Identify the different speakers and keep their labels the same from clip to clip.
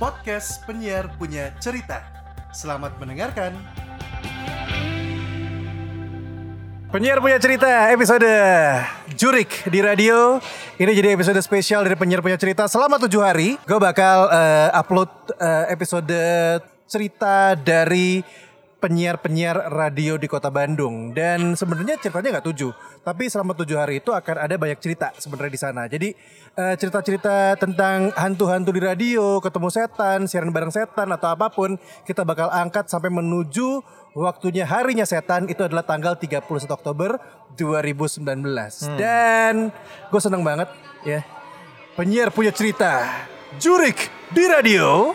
Speaker 1: podcast penyiar punya cerita. Selamat mendengarkan.
Speaker 2: Penyiar punya cerita episode Jurik di radio Ini jadi episode spesial dari Penyiar punya cerita selama tujuh hari Gue bakal eh, upload eh, episode cerita dari penyiar-penyiar radio di kota Bandung Dan sebenarnya ceritanya nggak tujuh Tapi selama tujuh hari itu akan ada banyak cerita sebenarnya di sana Jadi eh, cerita-cerita tentang hantu-hantu di radio Ketemu setan, siaran bareng setan atau apapun Kita bakal angkat sampai menuju Waktunya harinya setan itu adalah tanggal 31 Oktober 2019. Dan gue seneng banget ya. Penyiar punya cerita. Jurik di radio.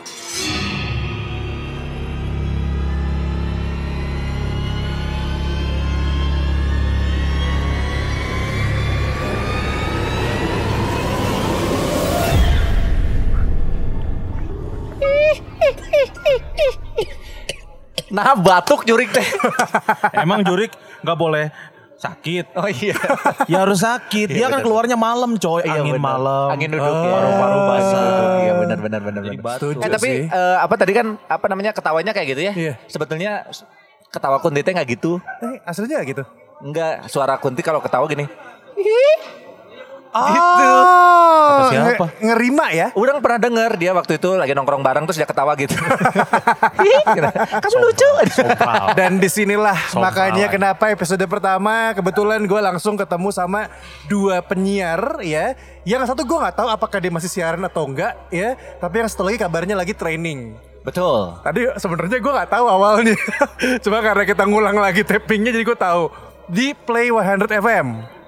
Speaker 3: Nah batuk jurik teh.
Speaker 4: Emang jurik nggak boleh sakit.
Speaker 3: Oh iya.
Speaker 4: Ya harus sakit. Dia kan keluarnya malam, coy. Iya, Angin malam. Eh,
Speaker 3: Angin duduk ya. Paru-paru basah. Iya benar benar benar benar.
Speaker 2: Setuju
Speaker 3: Eh tapi
Speaker 2: Iya sih.
Speaker 3: eh, apa tadi kan apa namanya ketawanya kayak gitu ya?
Speaker 2: Iya.
Speaker 3: Sebetulnya s- ketawa kunti teh nggak gitu.
Speaker 2: Eh, aslinya nggak gitu.
Speaker 3: Enggak, suara kunti kalau ketawa gini.
Speaker 2: Gitu.
Speaker 4: siapa?
Speaker 2: Nge- ngerima ya.
Speaker 3: Udah pernah denger dia waktu itu lagi nongkrong bareng terus dia ketawa gitu. Kamu lucu.
Speaker 2: Dan disinilah
Speaker 4: Sombong
Speaker 2: makanya
Speaker 4: amat.
Speaker 2: kenapa episode pertama kebetulan gue langsung ketemu sama dua penyiar ya. Yang satu gue nggak tahu apakah dia masih siaran atau enggak ya. Tapi yang satu lagi kabarnya lagi training.
Speaker 3: Betul.
Speaker 2: Tadi sebenarnya gue nggak tahu awalnya. Cuma karena kita ngulang lagi tappingnya jadi gue tahu. Di Play 100 FM.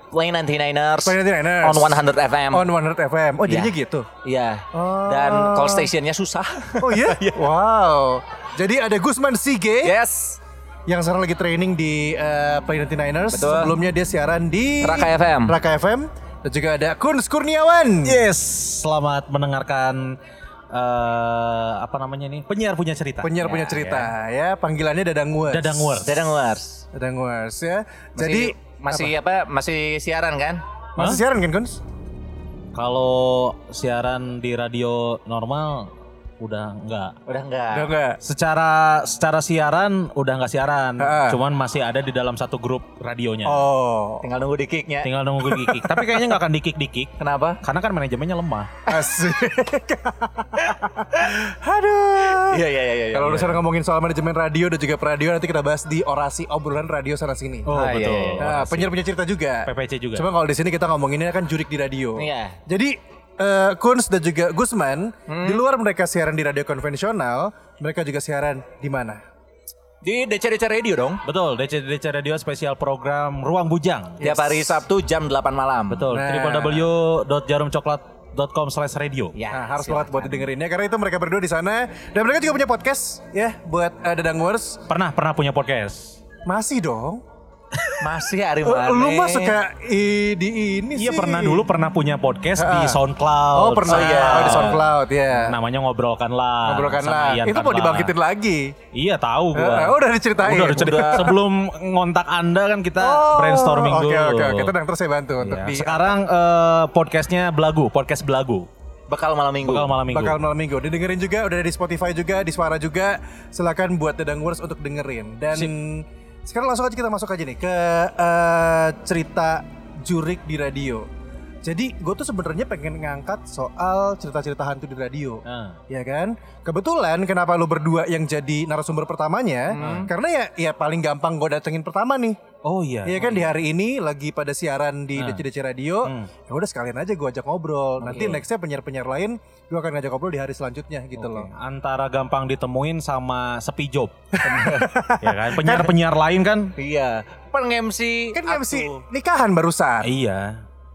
Speaker 3: Play 99ers.
Speaker 2: Play 99ers.
Speaker 3: On 100 FM.
Speaker 2: On 100 FM. Oh jadinya
Speaker 3: Iya.
Speaker 2: gitu.
Speaker 3: Iya.
Speaker 2: Oh.
Speaker 3: Dan call stationnya susah.
Speaker 2: Oh iya? wow. Jadi ada Gusman Sige
Speaker 5: Iya.
Speaker 3: Yes.
Speaker 2: yang sekarang lagi training di eh, Play 99ers.
Speaker 3: Betul.
Speaker 2: Sebelumnya dia siaran di
Speaker 3: Raka FM.
Speaker 2: Raka FM. Dan juga ada Kun Kurniawan.
Speaker 4: Yes. Selamat mendengarkan eh apa namanya nih? Penyiar punya cerita.
Speaker 2: Penyiar punya cerita ya. Panggilannya Dadang Wars.
Speaker 4: Dadang Wars.
Speaker 3: Dadang Wars.
Speaker 2: Dadang Wars ya. Jadi
Speaker 3: Masih- masih apa? Masih siaran kan?
Speaker 2: masih siaran kan Kun?
Speaker 4: Kalau siaran di radio normal udah enggak.
Speaker 3: Udah enggak.
Speaker 2: Udah enggak?
Speaker 4: Secara secara siaran udah enggak siaran,
Speaker 2: Heeh.
Speaker 4: cuman masih ada di dalam satu grup radionya.
Speaker 2: Oh.
Speaker 3: Tinggal nunggu di kicknya.
Speaker 4: Tinggal nunggu dikik. Tapi kayaknya nggak akan dikik-dikik
Speaker 3: Kenapa?
Speaker 4: karena kan manajemennya lemah.
Speaker 2: Asik. Aduh.
Speaker 3: iya iya iya.
Speaker 2: Kalau urusan ngomongin soal manajemen radio dan juga radio nanti kita bahas di orasi obrolan radio sana sini.
Speaker 4: Oh,
Speaker 3: Ah, iya,
Speaker 4: betul.
Speaker 3: iya,
Speaker 2: Nah, penyiar punya cerita juga.
Speaker 4: PPC juga.
Speaker 2: Cuma kalau di sini kita ngomonginnya kan jurik di radio.
Speaker 3: Iya.
Speaker 2: Jadi eh, Kunz dan juga Gusman
Speaker 4: Hmm.
Speaker 2: di luar mereka siaran di radio konvensional, mereka juga siaran di mana?
Speaker 3: di DCDC Radio dong.
Speaker 4: Betul, DCDC Radio spesial program Ruang Bujang.
Speaker 3: Tiap hari Sabtu jam 8 malam.
Speaker 4: Betul,
Speaker 2: Nah.
Speaker 4: www.jarumcoklat.com slash radio.
Speaker 3: Ya.
Speaker 2: Nah, harus banget buat didengerinnya karena itu mereka berdua di sana dan mereka juga punya podcast ya buat eh, Dadang Wars.
Speaker 4: Pernah, pernah punya podcast.
Speaker 2: Masih dong.
Speaker 3: Masih hari
Speaker 2: Eh,
Speaker 3: mana?
Speaker 2: Lu mah suka i- di ini
Speaker 4: Iya
Speaker 2: sih.
Speaker 4: pernah dulu pernah punya podcast di
Speaker 2: Ah.
Speaker 4: SoundCloud.
Speaker 2: Oh pernah ya oh, di SoundCloud ya.
Speaker 4: Namanya ngobrolkan lah.
Speaker 2: Ngobrolkan
Speaker 4: Iya. Nah, sama
Speaker 2: lah.
Speaker 4: Ian
Speaker 2: Itu mau
Speaker 4: Tanpa.
Speaker 2: dibangkitin lagi.
Speaker 4: Iya tahu gua.
Speaker 2: Eh, udah diceritain. Oh,
Speaker 4: Udah, udah cerita. Sebelum ngontak Anda kan kita brainstorming
Speaker 2: Oke
Speaker 4: dulu.
Speaker 2: oke oke. Tenang terus saya bantu untuk
Speaker 4: Iya.
Speaker 2: di
Speaker 4: Sekarang eh, podcastnya Belagu, podcast Belagu.
Speaker 3: Bekal malam minggu.
Speaker 4: Bakal malam minggu.
Speaker 2: bakal malam minggu. Didengerin juga udah ada di Spotify juga, di Suara juga. Silakan buat Dedang Wars untuk dengerin. Dan sekarang langsung aja kita masuk aja nih ke eh, cerita jurik di radio. Jadi gue tuh sebenarnya pengen ngangkat soal cerita-cerita hantu di radio.
Speaker 4: Ah.
Speaker 2: Ya kan? Kebetulan kenapa lu berdua yang jadi narasumber pertamanya?
Speaker 4: Hmm.
Speaker 2: Karena ya ya paling gampang gue datengin pertama nih.
Speaker 4: Oh iya.
Speaker 2: Iya kan di hari ini lagi pada siaran di
Speaker 4: Nah.
Speaker 2: DC-DC Radio.
Speaker 4: Hmm.
Speaker 2: Ya udah sekalian aja gue ajak ngobrol. Nanti nextnya penyiar-penyiar lain gue akan ngajak ngobrol di hari selanjutnya gitu loh.
Speaker 4: antara gampang ditemuin sama sepi job. ya kan? Penyiar-penyiar lain kan?
Speaker 3: Iya. Peng MC.
Speaker 2: Kan
Speaker 3: aku.
Speaker 2: MC nikahan barusan.
Speaker 4: Iya.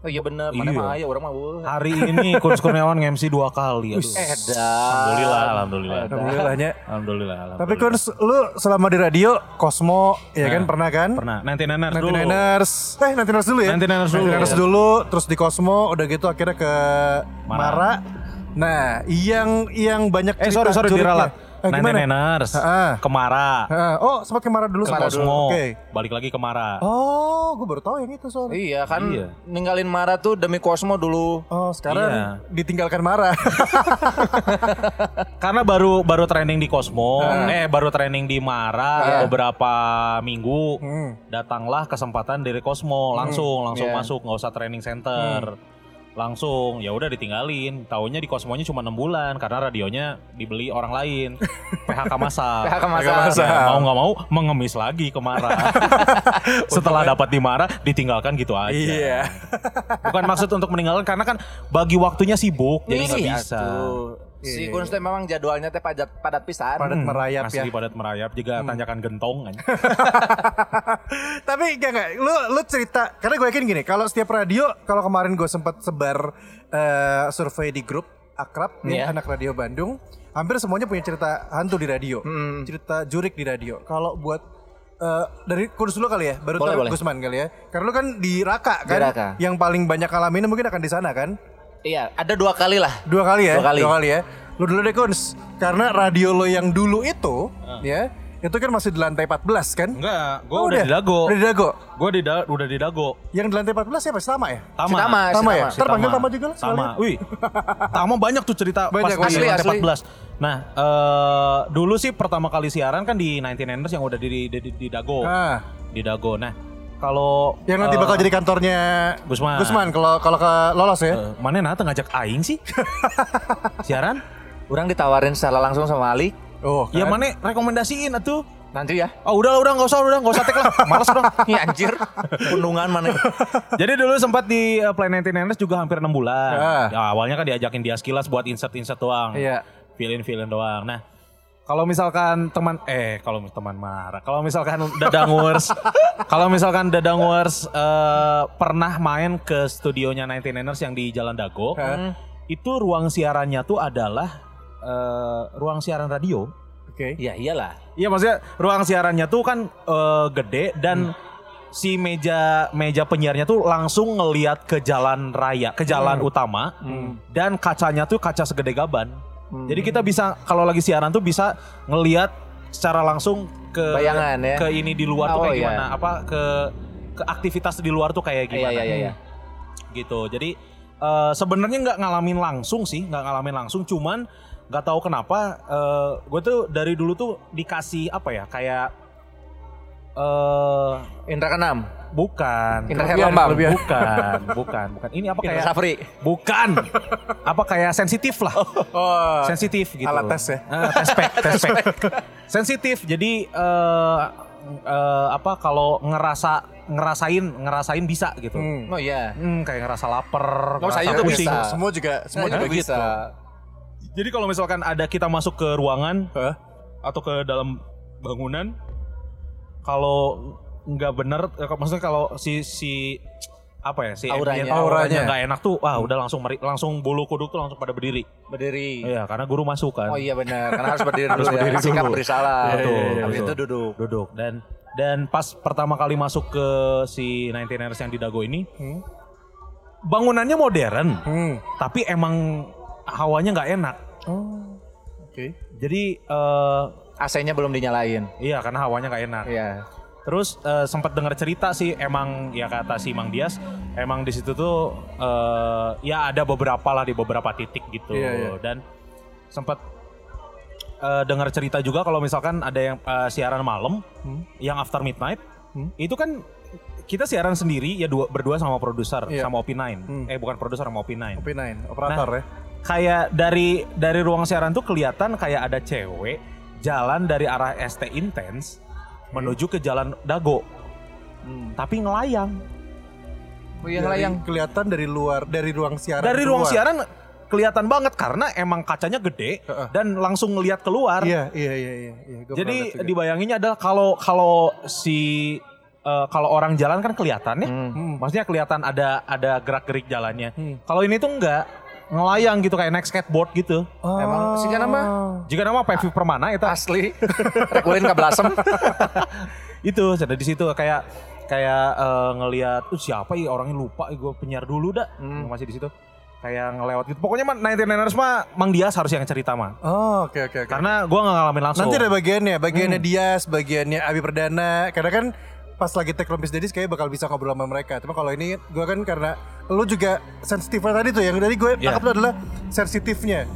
Speaker 3: Oh iya bener. Mana
Speaker 4: Iya.
Speaker 3: mah aya orang mah. wuh.
Speaker 4: Hari ini Kun Kurniawan MC dua kali. Aduh.
Speaker 3: Eh dah.
Speaker 4: Alhamdulillah, alhamdulillah.
Speaker 2: Alhamdulillahnya.
Speaker 4: Alhamdulillah,
Speaker 2: Tapi
Speaker 4: alhamdulillah.
Speaker 2: kun lu selama di radio Cosmo ya kan pernah kan?
Speaker 4: Nah. pernah nanti nenar
Speaker 2: Nanti
Speaker 4: dulu.
Speaker 2: Niners, eh nanti Niners dulu ya.
Speaker 4: 99ers dulu. Iya.
Speaker 2: dulu, terus di Cosmo, udah gitu akhirnya ke Mara,
Speaker 4: Mara.
Speaker 2: Nah, yang yang banyak
Speaker 4: Eh sorry sorry
Speaker 2: juriknya.
Speaker 4: diralat.
Speaker 2: Eh,
Speaker 4: Nine
Speaker 2: gimana?
Speaker 4: Niners,
Speaker 2: Ha-ha.
Speaker 4: Kemara,
Speaker 2: Ha, oh, sempat ke Mara dulu
Speaker 4: ke
Speaker 2: sempat.
Speaker 4: Cosmo,
Speaker 2: Oke.
Speaker 4: balik lagi ke Mara.
Speaker 2: Oh, gue baru tahu yang itu soalnya.
Speaker 3: Iya kan
Speaker 4: Iya.
Speaker 3: ninggalin Mara tuh demi Cosmo dulu.
Speaker 2: Oh, sekarang
Speaker 4: Iya.
Speaker 2: ditinggalkan Mara.
Speaker 4: Karena baru baru training di Cosmo, eh baru training di Mara beberapa minggu,
Speaker 2: Hmm.
Speaker 4: datanglah kesempatan dari Cosmo langsung langsung
Speaker 3: Iya.
Speaker 4: masuk nggak usah training center. Langsung ya udah ditinggalin. Taunya di Cosmonya cuma enam bulan karena radionya dibeli orang lain. PHK masal.
Speaker 3: PHK masa.
Speaker 4: Ya, mau nggak mau mengemis lagi ke Mara. Setelah dapat di Mara ditinggalkan gitu aja.
Speaker 3: Iya.
Speaker 2: Iya.
Speaker 4: Bukan maksud untuk meninggalkan karena kan bagi waktunya sibuk jadi nggak
Speaker 3: Iya,
Speaker 4: bisa.
Speaker 3: tuh. Si Kunz tuh memang jadwalnya teh padat padat pisan.
Speaker 2: Padat merayap ya. Hmm.
Speaker 4: Asli padat merayap juga tanjakan gentong kan.
Speaker 2: Tapi enggak enggak, lu lu cerita karena gue yakin gini, kalau setiap radio kalau kemarin gue sempat sebar eh, survei di grup akrab
Speaker 3: Iya.
Speaker 2: nih anak radio Bandung, hampir semuanya punya cerita hantu di radio,
Speaker 3: Hmm,
Speaker 2: cerita jurik di radio. Kalau buat eh, dari kursus dulu kali ya, baru
Speaker 3: Boleh,
Speaker 2: tahu
Speaker 3: boleh.
Speaker 2: Gusman kali ya. Karena lu kan di Raka kan,
Speaker 3: Raka.
Speaker 2: yang paling banyak alamin mungkin akan di sana kan.
Speaker 3: Iya, ada dua kali lah.
Speaker 2: Dua kali ya,
Speaker 3: Dua kali.
Speaker 2: ya. Lu dulu deh Kuns, karena radio lo yang dulu itu, ya, itu kan masih di lantai 14 kan?
Speaker 4: Ah. Enggak, gue
Speaker 2: Oh,
Speaker 4: udah, di Dago.
Speaker 2: Udah di Dago.
Speaker 4: Gue di da- udah di Dago.
Speaker 2: Yang di lantai 14 siapa? Sama ya?
Speaker 3: Tama, si
Speaker 4: Tama.
Speaker 2: Tama ya?
Speaker 3: Tama.
Speaker 4: Si
Speaker 2: Ntar panggil Tama juga lah
Speaker 4: Tama.
Speaker 2: sekalian.
Speaker 4: Wih. Tama banyak tuh cerita
Speaker 2: Banyak,
Speaker 4: pas
Speaker 3: asli,
Speaker 4: asli,
Speaker 3: asli.
Speaker 4: 14. Nah, eh dulu sih pertama kali siaran kan di 19 yang udah di di, di, di Dago.
Speaker 2: Ah,
Speaker 4: Di Dago. Nah, kalau
Speaker 2: yang nanti
Speaker 4: eh,
Speaker 2: bakal jadi kantornya
Speaker 4: Gusman.
Speaker 2: Gusman kalau kalau ke lolos ya.
Speaker 4: eh, mana nata ngajak aing sih? siaran?
Speaker 3: Orang ditawarin secara langsung sama Ali.
Speaker 2: Oh,
Speaker 4: Ya mana rekomendasiin atuh.
Speaker 3: Nanti ya.
Speaker 4: Oh udah udah nggak usah udah nggak usah tek lah. Males dong.
Speaker 3: Ih anjir. Pundungan mana.
Speaker 4: Jadi dulu sempat di uh, Planet Niners juga hampir 6 bulan.
Speaker 2: Ah.
Speaker 4: Ya, awalnya kan diajakin dia sekilas buat insert-insert doang.
Speaker 2: Iya.
Speaker 4: Feelin-feelin doang. Nah, kalau misalkan teman eh kalau mis- teman marah, kalau misalkan Dadangwers, kalau misalkan Dadangwers eh, pernah main ke studionya 99ers yang di Jalan Dago,
Speaker 2: Hah?
Speaker 4: itu ruang siarannya tuh adalah eh, ruang siaran radio.
Speaker 2: Oke.
Speaker 3: Iya iyalah.
Speaker 4: Iya maksudnya ruang siarannya tuh kan eh, gede dan si meja meja penyiarnya tuh langsung ngeliat ke jalan raya, ke jalan utama dan kacanya tuh kaca segede gaban. Jadi kita bisa kalau lagi siaran tuh bisa ngeliat secara langsung ke
Speaker 3: Bayangan ya.
Speaker 4: ke ini di luar
Speaker 3: Oh,
Speaker 4: tuh kayak
Speaker 3: iya.
Speaker 4: gimana, apa ke ke aktivitas di luar tuh
Speaker 3: Iya
Speaker 4: kayak gimana.
Speaker 3: iya iya. iya.
Speaker 4: Gitu. Jadi eh, sebenarnya nggak ngalamin langsung sih, nggak ngalamin langsung cuman nggak tahu kenapa gue tuh dari dulu tuh dikasih apa ya kayak eh
Speaker 3: Indra keenam.
Speaker 4: bukan
Speaker 3: Indra
Speaker 4: Kelebihan,
Speaker 3: Herlambang.
Speaker 4: kelebihan. bukan bukan bukan ini apa
Speaker 3: Indra
Speaker 4: kayak
Speaker 3: Safri.
Speaker 4: bukan apa kayak sensitif lah
Speaker 2: Oh,
Speaker 4: sensitif gitu
Speaker 2: Alat tes ya?
Speaker 4: Eh, tes pack, tes pack. sensitif jadi eh eh, apa kalau ngerasa ngerasain ngerasain bisa gitu
Speaker 2: Hmm.
Speaker 3: Oh iya.
Speaker 4: Hmm, kayak ngerasa lapar
Speaker 3: Oh, saya
Speaker 4: ngerasa
Speaker 3: juga
Speaker 4: pusing.
Speaker 3: bisa.
Speaker 2: Semua juga semua
Speaker 3: Saya
Speaker 2: juga
Speaker 3: juga
Speaker 2: gitu.
Speaker 3: bisa.
Speaker 4: jadi kalau misalkan ada kita masuk ke ruangan
Speaker 2: Hah?
Speaker 4: atau ke dalam bangunan kalau nggak bener eh, maksudnya kalau si si apa ya si
Speaker 3: Auranya.
Speaker 4: ambient auranya
Speaker 2: Auranya.
Speaker 4: nggak enak tuh wah udah langsung meri- langsung bulu kuduk tuh langsung pada berdiri
Speaker 3: Berdiri.
Speaker 4: iya karena guru masuk kan
Speaker 3: Oh iya benar. Karena harus berdiri
Speaker 4: Harus
Speaker 3: dulu
Speaker 4: berdiri
Speaker 3: ya. Sikap
Speaker 4: dulu.
Speaker 3: bersalah.
Speaker 4: Iya, iya, iya,
Speaker 3: Habis
Speaker 4: betul.
Speaker 3: itu duduk.
Speaker 4: duduk dan dan pas pertama kali masuk ke si 99ers yang di Dago ini
Speaker 2: Hmm.
Speaker 4: bangunannya modern
Speaker 2: Hmm.
Speaker 4: tapi emang hawanya nggak enak
Speaker 2: Oh. Oke.
Speaker 4: jadi eh,
Speaker 3: AC-nya belum dinyalain.
Speaker 4: iya karena hawanya nggak enak
Speaker 3: Iya.
Speaker 4: Terus eh, sempat dengar cerita sih emang ya kata si Mang Dias emang di situ tuh eh, ya ada beberapa lah di beberapa titik gitu
Speaker 2: Iya, iya.
Speaker 4: dan sempat eh, dengar cerita juga kalau misalkan ada yang eh, siaran malam
Speaker 2: Hmm.
Speaker 4: yang after midnight
Speaker 2: Hmm.
Speaker 4: itu kan kita siaran sendiri ya dua berdua sama produser
Speaker 2: Iya.
Speaker 4: sama Opinine
Speaker 2: Hmm.
Speaker 4: eh bukan produser sama Opinine
Speaker 2: OP9 operator
Speaker 4: Nah.
Speaker 2: ya.
Speaker 4: kayak dari dari ruang siaran tuh kelihatan kayak ada cewek jalan dari arah ST Intense menuju ke jalan Dago.
Speaker 2: Hmm.
Speaker 4: Tapi ngelayang.
Speaker 3: Oh iya
Speaker 2: Dari-
Speaker 3: ngelayang.
Speaker 2: kelihatan dari luar dari ruang siaran.
Speaker 4: Dari ruang
Speaker 2: keluar.
Speaker 4: siaran kelihatan banget karena emang kacanya gede
Speaker 2: Heeh.
Speaker 4: dan langsung ngelihat keluar.
Speaker 2: Iya, iya, iya, iya. iya. Gua pernah
Speaker 4: Jadi
Speaker 2: lihat juga.
Speaker 4: dibayanginnya adalah kalau kalau si eh, kalau orang jalan kan kelihatan ya.
Speaker 3: Hmm.
Speaker 2: Hmm.
Speaker 4: Maksudnya kelihatan ada ada gerak-gerik jalannya.
Speaker 2: Hmm.
Speaker 4: Kalau ini tuh enggak ngelayang gitu kayak naik skateboard gitu.
Speaker 2: Oh.
Speaker 3: Emang sih kan nama?
Speaker 2: Ah.
Speaker 4: Jika nama Pevi Permana itu
Speaker 3: Asli. Rekulin ke belasem.
Speaker 4: itu ada di situ kayak eh,
Speaker 2: Hmm.
Speaker 4: kayak eh, ngelihat "Uh, siapa ya orangnya lupa gue penyiar dulu dah masih di situ kayak ngelewat gitu. Pokoknya mah 99ers mah Mang Dias harus yang cerita mah.
Speaker 2: Oh, oke oke oke.
Speaker 4: Karena gua nggak ngalamin langsung.
Speaker 2: Nanti ada bagiannya, bagiannya Dias, bagiannya Abi Perdana. Karena kan pas lagi take Rompis Dedis kayaknya bakal bisa ngobrol sama mereka. Cuma kalau ini gue kan karena lu juga sensitif tadi tuh yang dari gue
Speaker 3: Iya.
Speaker 2: tangkap tuh adalah sensitifnya.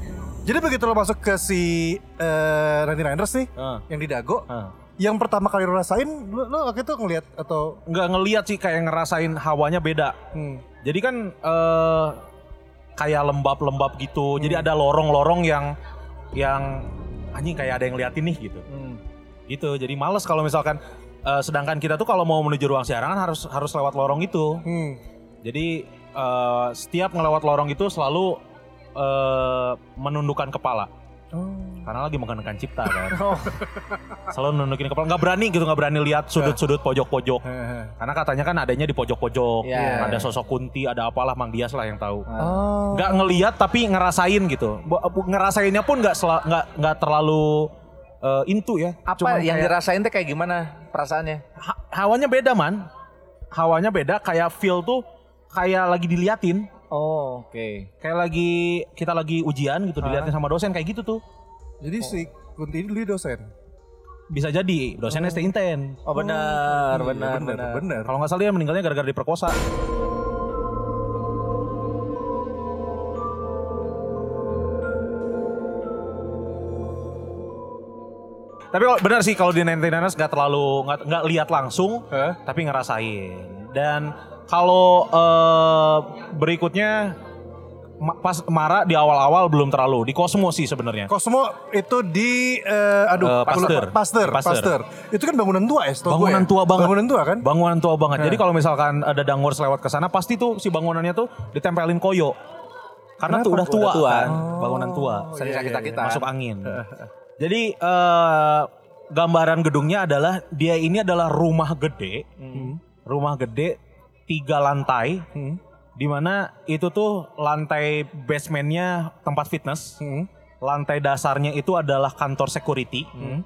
Speaker 2: Jadi begitu lo masuk ke si eh, nanti Niners nih
Speaker 4: Heeh.
Speaker 2: yang di Dago,
Speaker 4: Heeh.
Speaker 2: yang pertama kali lo rasain, lo, lo waktu itu ngeliat atau
Speaker 4: nggak ngeliat sih kayak ngerasain hawanya beda.
Speaker 2: hmm,
Speaker 4: Jadi kan eh kayak lembab-lembab gitu.
Speaker 2: Hmm.
Speaker 4: Jadi ada lorong-lorong yang yang anjing kayak ada yang liatin nih gitu. Gitu. Jadi males kalau misalkan eh, sedangkan kita tuh kalau mau menuju ruang siaran kan harus harus lewat lorong itu.
Speaker 2: hmm.
Speaker 4: Jadi eh, setiap ngelewat lorong itu selalu eh, menundukkan kepala
Speaker 2: Oh.
Speaker 4: karena lagi mengenakan cipta kan. Selalu nundukin kepala, nggak berani gitu, nggak berani lihat sudut-sudut pojok-pojok.
Speaker 2: Heeh.
Speaker 4: Karena katanya kan adanya di pojok-pojok,
Speaker 3: Iya. Ah.
Speaker 4: ada sosok kunti, ada apalah Mang Dias lah yang tahu.
Speaker 2: Oh.
Speaker 4: Nggak ngeliat tapi ngerasain gitu. Bo- Ngerasainnya pun nggak sela- nggak nggak terlalu eh, intu ya.
Speaker 3: Apa
Speaker 4: Cuman
Speaker 3: yang
Speaker 4: kayak-
Speaker 3: dirasain teh kayak gimana perasaannya?
Speaker 4: ha- hawanya beda man, hawanya beda. Kayak feel tuh kayak lagi diliatin,
Speaker 3: Oh, oke.
Speaker 4: kayak lagi kita lagi ujian gitu diliatin sama dosen kayak gitu tuh.
Speaker 2: Jadi si Kunti ini dulu dosen.
Speaker 4: Bisa jadi dosennya stay intent.
Speaker 3: Oh benar,
Speaker 4: iya,
Speaker 3: benar,
Speaker 2: Iya, benar,
Speaker 3: benar.
Speaker 2: benar.
Speaker 4: Kalau nggak salah dia meninggalnya gara-gara diperkosa. Tapi kalau- benar sih kalau di 99ers nggak terlalu nggak nggak lihat langsung,
Speaker 2: Hah?
Speaker 4: tapi ngerasain. Dan kalau eh, berikutnya ma- pas Mara di awal-awal belum terlalu di Cosmo sih sebenarnya.
Speaker 2: Cosmo itu di eh, aduh
Speaker 4: Eh, Pasteur.
Speaker 2: Pasteur,
Speaker 4: Pasteur.
Speaker 2: Pasteur. Itu kan bangunan tua ya, setahu gue
Speaker 4: Bangunan
Speaker 2: ya?
Speaker 4: tua banget.
Speaker 2: Bangunan tua kan?
Speaker 4: Bangunan tua banget. Jadi kalau misalkan ada dangwars lewat ke sana pasti tuh si bangunannya tuh ditempelin koyo. Karena tuh udah tua,
Speaker 3: Udah tua.
Speaker 4: kan,
Speaker 2: Oh.
Speaker 4: bangunan tua.
Speaker 3: Sering sakit-sakitan.
Speaker 4: iya, Masuk ah. angin. Jadi eh, gambaran gedungnya adalah dia ini adalah rumah gede.
Speaker 2: Hmm.
Speaker 4: Rumah gede tiga lantai. Dimana itu tuh lantai basementnya tempat fitness.
Speaker 2: hmm,
Speaker 4: Lantai dasarnya itu adalah kantor security.
Speaker 2: Hmm.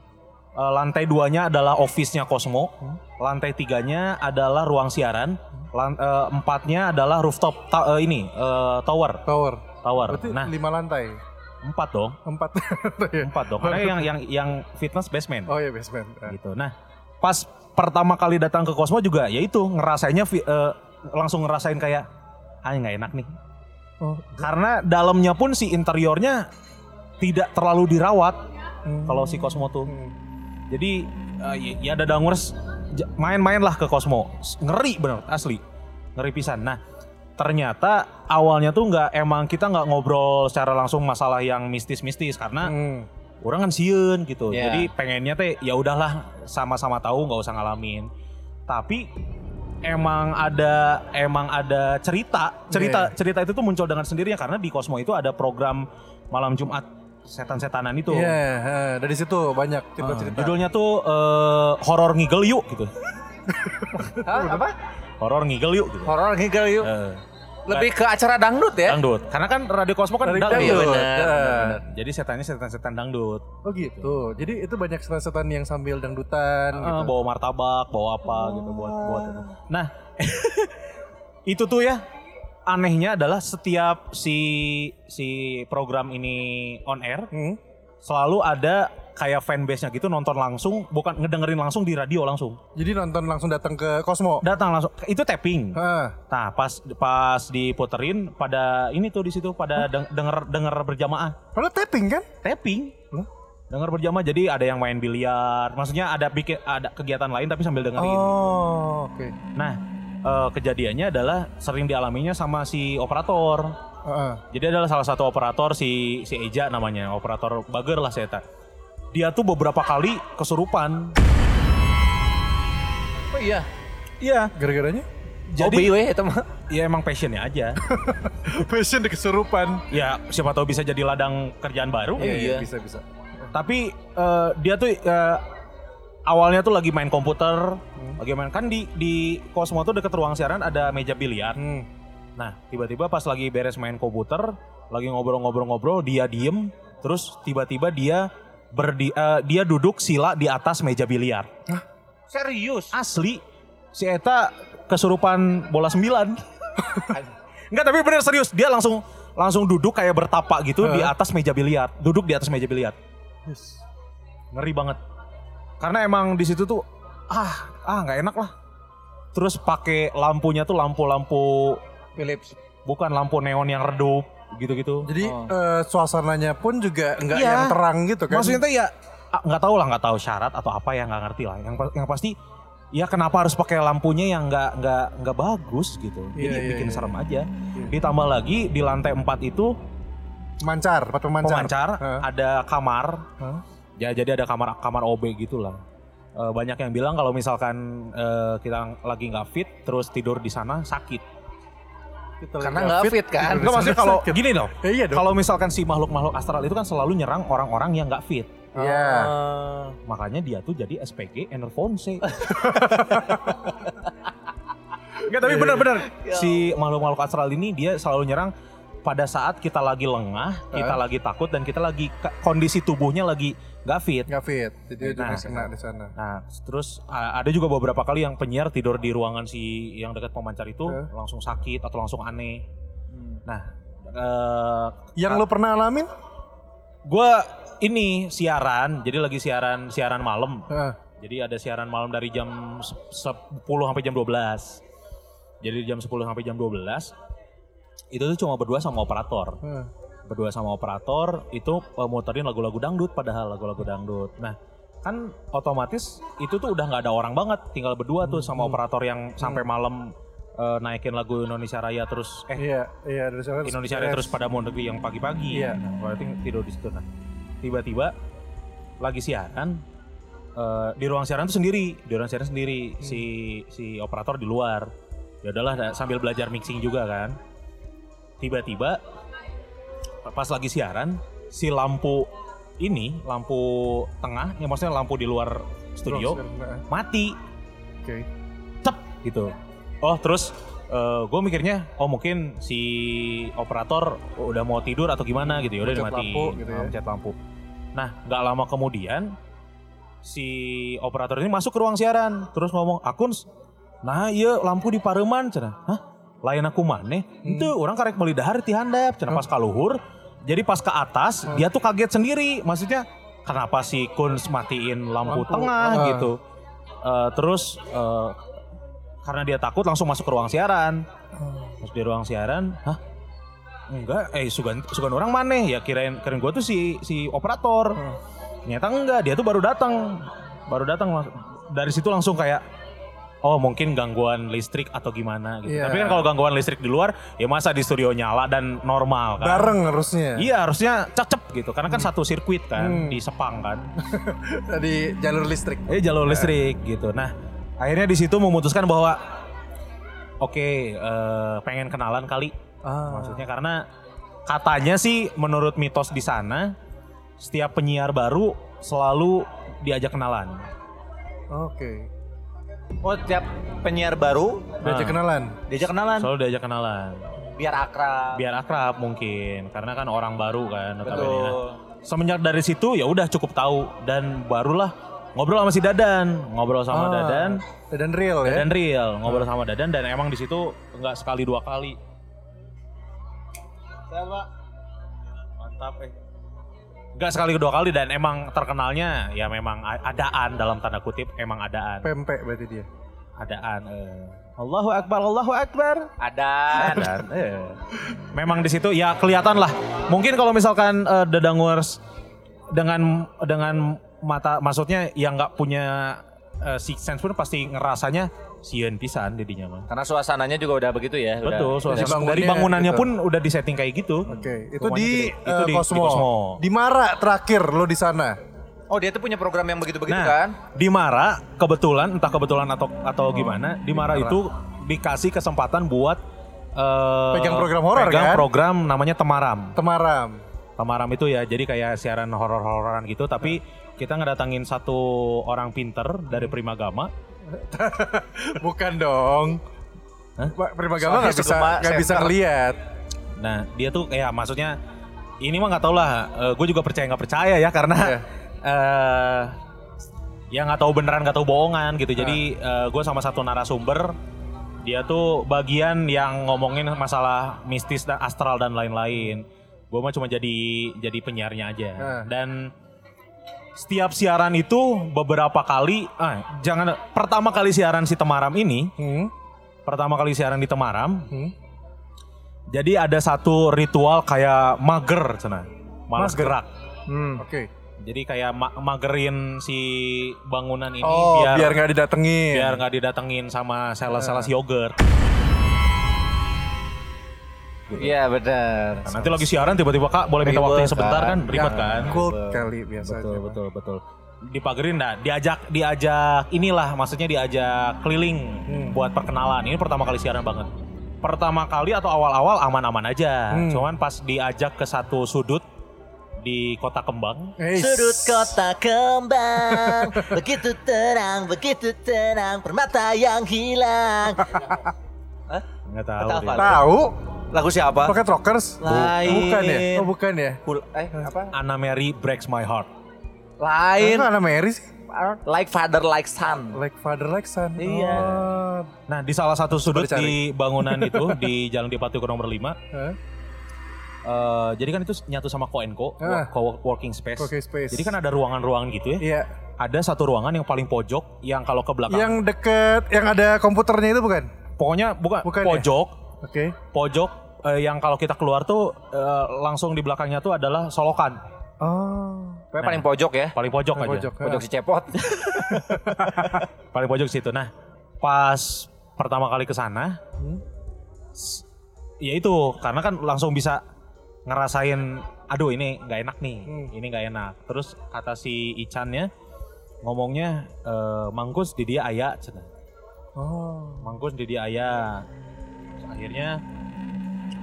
Speaker 4: Eh, lantai duanya adalah office-nya Cosmo. Lantai tiganya adalah ruang siaran. Lan- eh, empatnya adalah rooftop ta- eh, ini eh, tower.
Speaker 2: Tower.
Speaker 4: Tower.
Speaker 2: Berarti
Speaker 4: Nah
Speaker 2: lima lantai.
Speaker 4: empat dong,
Speaker 2: Empat. Ya.
Speaker 4: empat dong. Karena yang yang yang fitness basement
Speaker 2: oh iya basement. Ah.
Speaker 4: gitu. Nah pas pertama kali datang ke Cosmo juga, ya itu ngerasainnya fi- eh, langsung ngerasain kayak ah nggak enak nih. Iya.
Speaker 2: Oh.
Speaker 4: Karena dalamnya pun si interiornya tidak terlalu dirawat
Speaker 2: Hmm.
Speaker 4: kalau si Cosmo tuh.
Speaker 2: Hmm.
Speaker 4: Jadi eh, y- ya ada Dangers main-main lah ke Cosmo. S- Ngeri bener asli. Ngeri pisan. Nah, ternyata awalnya tuh nggak emang kita nggak ngobrol secara langsung masalah yang mistis-mistis karena
Speaker 2: Hmm.
Speaker 4: orang kan sieun gitu.
Speaker 3: Iya.
Speaker 4: Jadi pengennya teh ya udahlah sama-sama tahu nggak usah ngalamin. Tapi emang ada emang ada cerita cerita
Speaker 2: Iya.
Speaker 4: cerita itu tuh muncul dengan sendirinya karena di Cosmo itu ada program malam Jumat setan-setanan itu.
Speaker 2: Iya, ah, dari situ banyak
Speaker 4: Ah,
Speaker 2: cerita-cerita.
Speaker 4: Judulnya tuh eh, horor ngigel yuk gitu.
Speaker 3: Hah, apa?
Speaker 4: Horor ngigel yuk gitu.
Speaker 3: Horor ngigel yuk.
Speaker 4: Eh,
Speaker 3: Lebih ke acara dangdut ya?
Speaker 4: dangdut. Karena kan Radio Kosmo kan
Speaker 2: Dari
Speaker 4: dangdut.
Speaker 3: Iya,
Speaker 2: dangdut.
Speaker 3: benar,
Speaker 2: Ah.
Speaker 4: Benar. Jadi setannya setan-setan dangdut.
Speaker 2: Oh gitu. Jadi itu banyak setan-setan yang sambil dangdutan
Speaker 4: Eh,
Speaker 2: gitu.
Speaker 4: bawa martabak, bawa apa gitu buat buat itu. Nah, itu tuh ya anehnya adalah setiap si si program ini on air
Speaker 2: Hmm.
Speaker 4: selalu ada kayak fanbase-nya gitu nonton langsung bukan ngedengerin langsung di radio langsung
Speaker 2: Jadi nonton langsung datang ke Cosmo.
Speaker 4: datang langsung itu tapping
Speaker 2: Ah.
Speaker 4: Nah, pas pas diputerin pada ini tuh di situ pada deng- denger denger berjamaah,
Speaker 2: Lo tapping kan?
Speaker 4: tapping.
Speaker 2: Loh?
Speaker 4: Denger berjamaah jadi ada yang main biliar. Maksudnya ada bikin ada kegiatan lain tapi sambil dengerin.
Speaker 2: Oh, oke.
Speaker 4: Nah, eh, kejadiannya adalah sering dialaminya sama si operator.
Speaker 2: Ah, ah.
Speaker 4: Jadi adalah salah satu operator si si Eja namanya, operator bager lah saya tak. Dia tuh beberapa kali kesurupan.
Speaker 3: Oh iya.
Speaker 4: Iya,
Speaker 2: Gara-garanya?
Speaker 3: Hobi
Speaker 4: jadi
Speaker 3: weh Oh, itu mah.
Speaker 4: ya emang passionnya aja.
Speaker 2: Passion di kesurupan.
Speaker 4: ya siapa tahu bisa jadi ladang kerjaan baru.
Speaker 3: Iya, iya.
Speaker 2: bisa bisa.
Speaker 4: tapi eh, dia tuh eh, awalnya tuh lagi main komputer lagi main kan di di Cosmo tuh deket ruang siaran ada meja biliar
Speaker 2: Hmm.
Speaker 4: nah tiba-tiba pas lagi beres main komputer lagi ngobrol-ngobrol-ngobrol dia diem terus tiba-tiba dia berdi eh, dia duduk sila di atas meja biliar
Speaker 3: Serius.
Speaker 4: asli si Eta kesurupan bola sembilan Enggak tapi bener serius dia langsung langsung duduk kayak bertapa gitu di atas meja biliar, duduk di atas meja biliar. Ngeri banget. Karena emang di situ tuh ah ah nggak enak lah. Terus pakai lampunya tuh lampu-lampu
Speaker 3: Philips.
Speaker 4: bukan lampu neon yang redup gitu-gitu.
Speaker 2: Jadi eh, suasananya pun juga nggak
Speaker 4: Iya.
Speaker 2: yang terang gitu kan?
Speaker 4: Maksudnya tuh ya ah, nggak tahu lah nggak tahu syarat atau apa ya nggak ngerti lah. Yang pa- yang pasti ya kenapa harus pakai lampunya yang nggak nggak nggak bagus gitu. Jadi
Speaker 2: Iya, iya,
Speaker 4: bikin
Speaker 2: iya.
Speaker 4: serem aja. Ditambah lagi di lantai 4 itu
Speaker 2: pemancar, tempat pemancar.
Speaker 4: pemancar,
Speaker 2: Heeh.
Speaker 4: ada kamar.
Speaker 2: Heeh.
Speaker 4: Ya jadi ada kamar kamar OB gitu lah. Eh, banyak yang bilang kalau misalkan eh, kita lagi nggak fit terus tidur di sana sakit.
Speaker 2: Kita
Speaker 3: Karena
Speaker 2: lagi
Speaker 3: nggak fit kan?
Speaker 2: tidur di
Speaker 4: Nggak maksudnya
Speaker 2: sana
Speaker 4: kalau
Speaker 2: sakit.
Speaker 4: gini dong.
Speaker 2: Ya, iya dong.
Speaker 4: Kalau misalkan si makhluk-makhluk astral itu kan selalu nyerang orang-orang yang nggak fit.
Speaker 2: Iya.
Speaker 3: Oh.
Speaker 4: Makanya dia tuh jadi SPG
Speaker 2: Ya
Speaker 4: Enerfonse.
Speaker 2: Enggak tapi benar-benar.
Speaker 4: si makhluk-makhluk astral ini dia selalu nyerang pada saat kita lagi lengah, kita lagi takut dan kita lagi ka- kondisi tubuhnya lagi gak fit.
Speaker 2: Nggak fit. Jadi
Speaker 4: Nah,
Speaker 2: udah kena di sana.
Speaker 4: Nah, terus a- ada juga beberapa kali yang penyiar tidur di ruangan si yang dekat pemancar itu
Speaker 2: Hah?
Speaker 4: langsung sakit atau langsung aneh. Nah, eh
Speaker 2: Yang lu pernah alamin?
Speaker 4: gue ini siaran, jadi lagi siaran siaran malam.
Speaker 2: Heeh.
Speaker 4: Jadi ada siaran malam dari jam se- 10 sampai jam 12. Jadi jam 10 sampai jam 12 itu tuh cuma berdua sama operator.
Speaker 2: Heeh.
Speaker 4: Berdua sama operator itu eh, muterin lagu-lagu dangdut padahal lagu-lagu dangdut. Nah, kan otomatis itu tuh udah nggak ada orang banget, tinggal berdua tuh sama operator yang sampai malam eh, naikin lagu Indonesia Raya terus eh
Speaker 2: Iya, iya dari sana.
Speaker 4: Indonesia Raya terus pada mau negeri yang pagi-pagi.
Speaker 2: Iya.
Speaker 4: Nah, berarti tidur di situ. Nah, tiba-tiba lagi siaran eh, di ruang siaran itu sendiri, di ruang siaran sendiri si si operator di luar. Ya udahlah nah, sambil belajar mixing juga kan. Tiba-tiba pas lagi siaran si lampu ini lampu tengah ya maksudnya lampu di luar studio
Speaker 2: Heeh.
Speaker 4: mati
Speaker 2: Ah, Oke.
Speaker 4: cep gitu. Oh terus gue mikirnya oh mungkin si operator udah mau tidur atau gimana gitu ya udah
Speaker 2: Mencet
Speaker 4: dimatiin
Speaker 2: lampu gitu ya.
Speaker 4: Ah, mencet lampu. Nah nggak lama kemudian si operator ini masuk ke ruang siaran terus ngomong akun nah iya lampu di pareman cenah hah lain aku mana itu orang karek meuli dahar ti handap cenah pas kaluhur jadi pas ke atas dia tuh kaget sendiri maksudnya kenapa si Kuns matiin lampu,
Speaker 2: Lampu.
Speaker 4: tengah
Speaker 2: Ah.
Speaker 4: gitu Eh, terus eh, karena dia takut langsung masuk ke ruang siaran Terus di ruang siaran hah enggak eh sugan sugan orang mana ya kirain kirain gue tuh si si operator
Speaker 2: Hmm.
Speaker 4: ternyata enggak dia tuh baru datang baru datang lang- dari situ langsung kayak oh mungkin gangguan listrik atau gimana gitu
Speaker 2: Iya.
Speaker 4: tapi kan kalau gangguan listrik di luar ya masa di studio nyala dan normal kan
Speaker 2: Bareng harusnya.
Speaker 4: Iya harusnya cacep gitu karena kan satu sirkuit kan
Speaker 2: Hmm.
Speaker 4: di Sepang kan.
Speaker 2: Di jalur listrik.
Speaker 4: Eh jalur
Speaker 2: Iya.
Speaker 4: listrik gitu. Nah, akhirnya di situ memutuskan bahwa oke eh, pengen kenalan kali.
Speaker 2: Ah,
Speaker 4: Maksudnya karena katanya sih menurut mitos di sana setiap penyiar baru selalu diajak kenalan.
Speaker 2: Oke.
Speaker 3: Oh tiap penyiar baru
Speaker 2: Diajak kenalan.
Speaker 3: diajak kenalan
Speaker 4: Selalu diajak kenalan.
Speaker 3: biar akrab.
Speaker 4: Biar akrab mungkin karena kan orang baru kan notabene. Nah,
Speaker 3: Betul.
Speaker 4: semenjak dari situ ya udah cukup tahu dan barulah ngobrol sama si Dadan, ngobrol sama
Speaker 2: Ah,
Speaker 4: Dadan.
Speaker 2: Dadan real ya.
Speaker 4: Dadan real ngobrol sama Dadan dan emang di situ nggak sekali dua kali. Mantap eh. Nggak sekali dua kali dan emang terkenalnya ya memang a- adaan dalam tanda kutip emang adaan.
Speaker 2: Pempek berarti dia.
Speaker 4: Adaan. eh. Allahu Akbar, Allahu Akbar.
Speaker 3: Ada.
Speaker 4: Adan. eh. Memang di situ ya kelihatan lah. Mungkin kalau misalkan eh, Dadangers dengan dengan mata maksudnya yang nggak punya eh, six sense pun pasti ngerasanya sieun pisan didinya mah.
Speaker 3: Karena suasananya juga udah begitu ya. udah.
Speaker 4: Betul,
Speaker 2: Dari
Speaker 4: suasana dari
Speaker 2: bangunannya
Speaker 4: bangunannya
Speaker 2: gitu.
Speaker 4: pun udah di setting kayak gitu.
Speaker 2: Oke, itu
Speaker 4: Rumahnya
Speaker 2: di,
Speaker 4: gede. itu
Speaker 2: eh,
Speaker 4: di,
Speaker 2: Cosmo. Di,
Speaker 4: di
Speaker 2: Mara terakhir lo di sana.
Speaker 3: Oh dia tuh punya program yang begitu-begitu
Speaker 4: Nah,
Speaker 3: kan?
Speaker 4: di Mara kebetulan entah kebetulan atau atau gimana, di Mara itu dikasih kesempatan buat eh,
Speaker 2: Pegang program horor, kan?
Speaker 4: pegang program namanya Temaram.
Speaker 2: Temaram.
Speaker 4: Tamaram itu ya jadi kayak siaran horor-hororan gitu tapi
Speaker 2: Nah.
Speaker 4: kita ngedatangin satu orang pinter dari Primagama.
Speaker 2: Bukan dong.
Speaker 4: Hah?
Speaker 2: Pak
Speaker 3: Soalnya
Speaker 2: Primagama nggak bisa
Speaker 3: Sugema
Speaker 2: nggak bisa
Speaker 3: center.
Speaker 2: ngeliat.
Speaker 4: Nah dia tuh kayak maksudnya ini mah nggak tau lah. gue juga percaya nggak percaya ya karena
Speaker 2: Iya.
Speaker 4: eh eh, ya nggak tahu beneran nggak tahu bohongan gitu. Jadi gue sama satu narasumber Dia tuh bagian yang ngomongin masalah mistis dan astral dan lain-lain. Gue mah cuma jadi jadi penyiarnya aja.
Speaker 2: Ah.
Speaker 4: Dan setiap siaran itu beberapa kali, ah, jangan pertama kali siaran si Temaram ini,
Speaker 2: Hmm.
Speaker 4: pertama kali siaran di Temaram, jadi ada satu ritual kayak mager, cina, malas
Speaker 2: Mager.
Speaker 4: gerak.
Speaker 2: Hmm. Oke.
Speaker 4: Jadi kayak ma- magerin si bangunan ini
Speaker 2: Oh,
Speaker 4: biar
Speaker 2: biar nggak didatengin.
Speaker 4: biar nggak didatengin sama sales-sales yogurt.
Speaker 3: Iya benar.
Speaker 4: Nah, Nanti lagi siaran tiba-tiba kak boleh minta waktunya
Speaker 3: Ribet,
Speaker 4: sebentar
Speaker 3: kan?
Speaker 4: kan
Speaker 2: Iya.
Speaker 4: ribet kan?
Speaker 2: Cold Nah, kali biasanya.
Speaker 4: Betul betul betul. Dipagerin dah, diajak diajak inilah maksudnya diajak keliling buat perkenalan. Ini pertama kali siaran banget. Pertama kali atau awal-awal aman-aman aja.
Speaker 2: Hmm.
Speaker 4: Cuman pas diajak ke satu sudut di Kota Kembang,
Speaker 2: Eish.
Speaker 6: Sudut kota kembang Begitu terang, begitu terang Permata yang hilang
Speaker 4: nggak tahu.
Speaker 3: Kota
Speaker 4: deh.
Speaker 3: apa?
Speaker 2: Tahu?
Speaker 3: Lagu siapa?
Speaker 2: Rocket Rockers?
Speaker 3: Lain.
Speaker 2: Bukan ya? Oh, bukan ya?
Speaker 3: Pul- eh apa?
Speaker 4: Anna Mary breaks my heart.
Speaker 3: Lain.
Speaker 2: Kenapa anak Mary sih?
Speaker 3: Like father like son.
Speaker 2: Like father like son.
Speaker 3: Iya.
Speaker 2: Oh.
Speaker 4: Nah, di salah satu sudut
Speaker 2: Baru cari.
Speaker 4: di bangunan itu di Jalan Dipatiko nomor 5
Speaker 2: Hah?
Speaker 4: Eh, jadi kan itu nyatu sama Koenko,
Speaker 2: Ah.
Speaker 4: co-working space.
Speaker 2: Coworking space.
Speaker 4: Jadi kan ada ruangan-ruangan gitu ya.
Speaker 2: Iya.
Speaker 4: Ada satu ruangan yang paling pojok yang kalau ke belakang.
Speaker 2: Yang deket, yang ada komputernya itu bukan?
Speaker 4: Pokoknya bukan
Speaker 2: Bukan ya?
Speaker 4: pojok,
Speaker 2: Oke.
Speaker 4: pojok eh, yang kalau kita keluar tuh eh, langsung di belakangnya tuh adalah solokan.
Speaker 2: Oh.
Speaker 3: Pokoknya paling pojok ya.
Speaker 4: Paling pojok
Speaker 2: Paling
Speaker 4: aja.
Speaker 2: Eh, pojok.
Speaker 3: Pojok si cepot.
Speaker 4: Paling pojok situ. Nah, pas pertama kali ke sana s- ya itu karena kan langsung bisa ngerasain aduh ini nggak enak nih ini nggak enak terus kata si Icannya ngomongnya eh, mangkus di dia ayak cenah.
Speaker 2: Oh.
Speaker 4: mangkus di dia ayak Terus akhirnya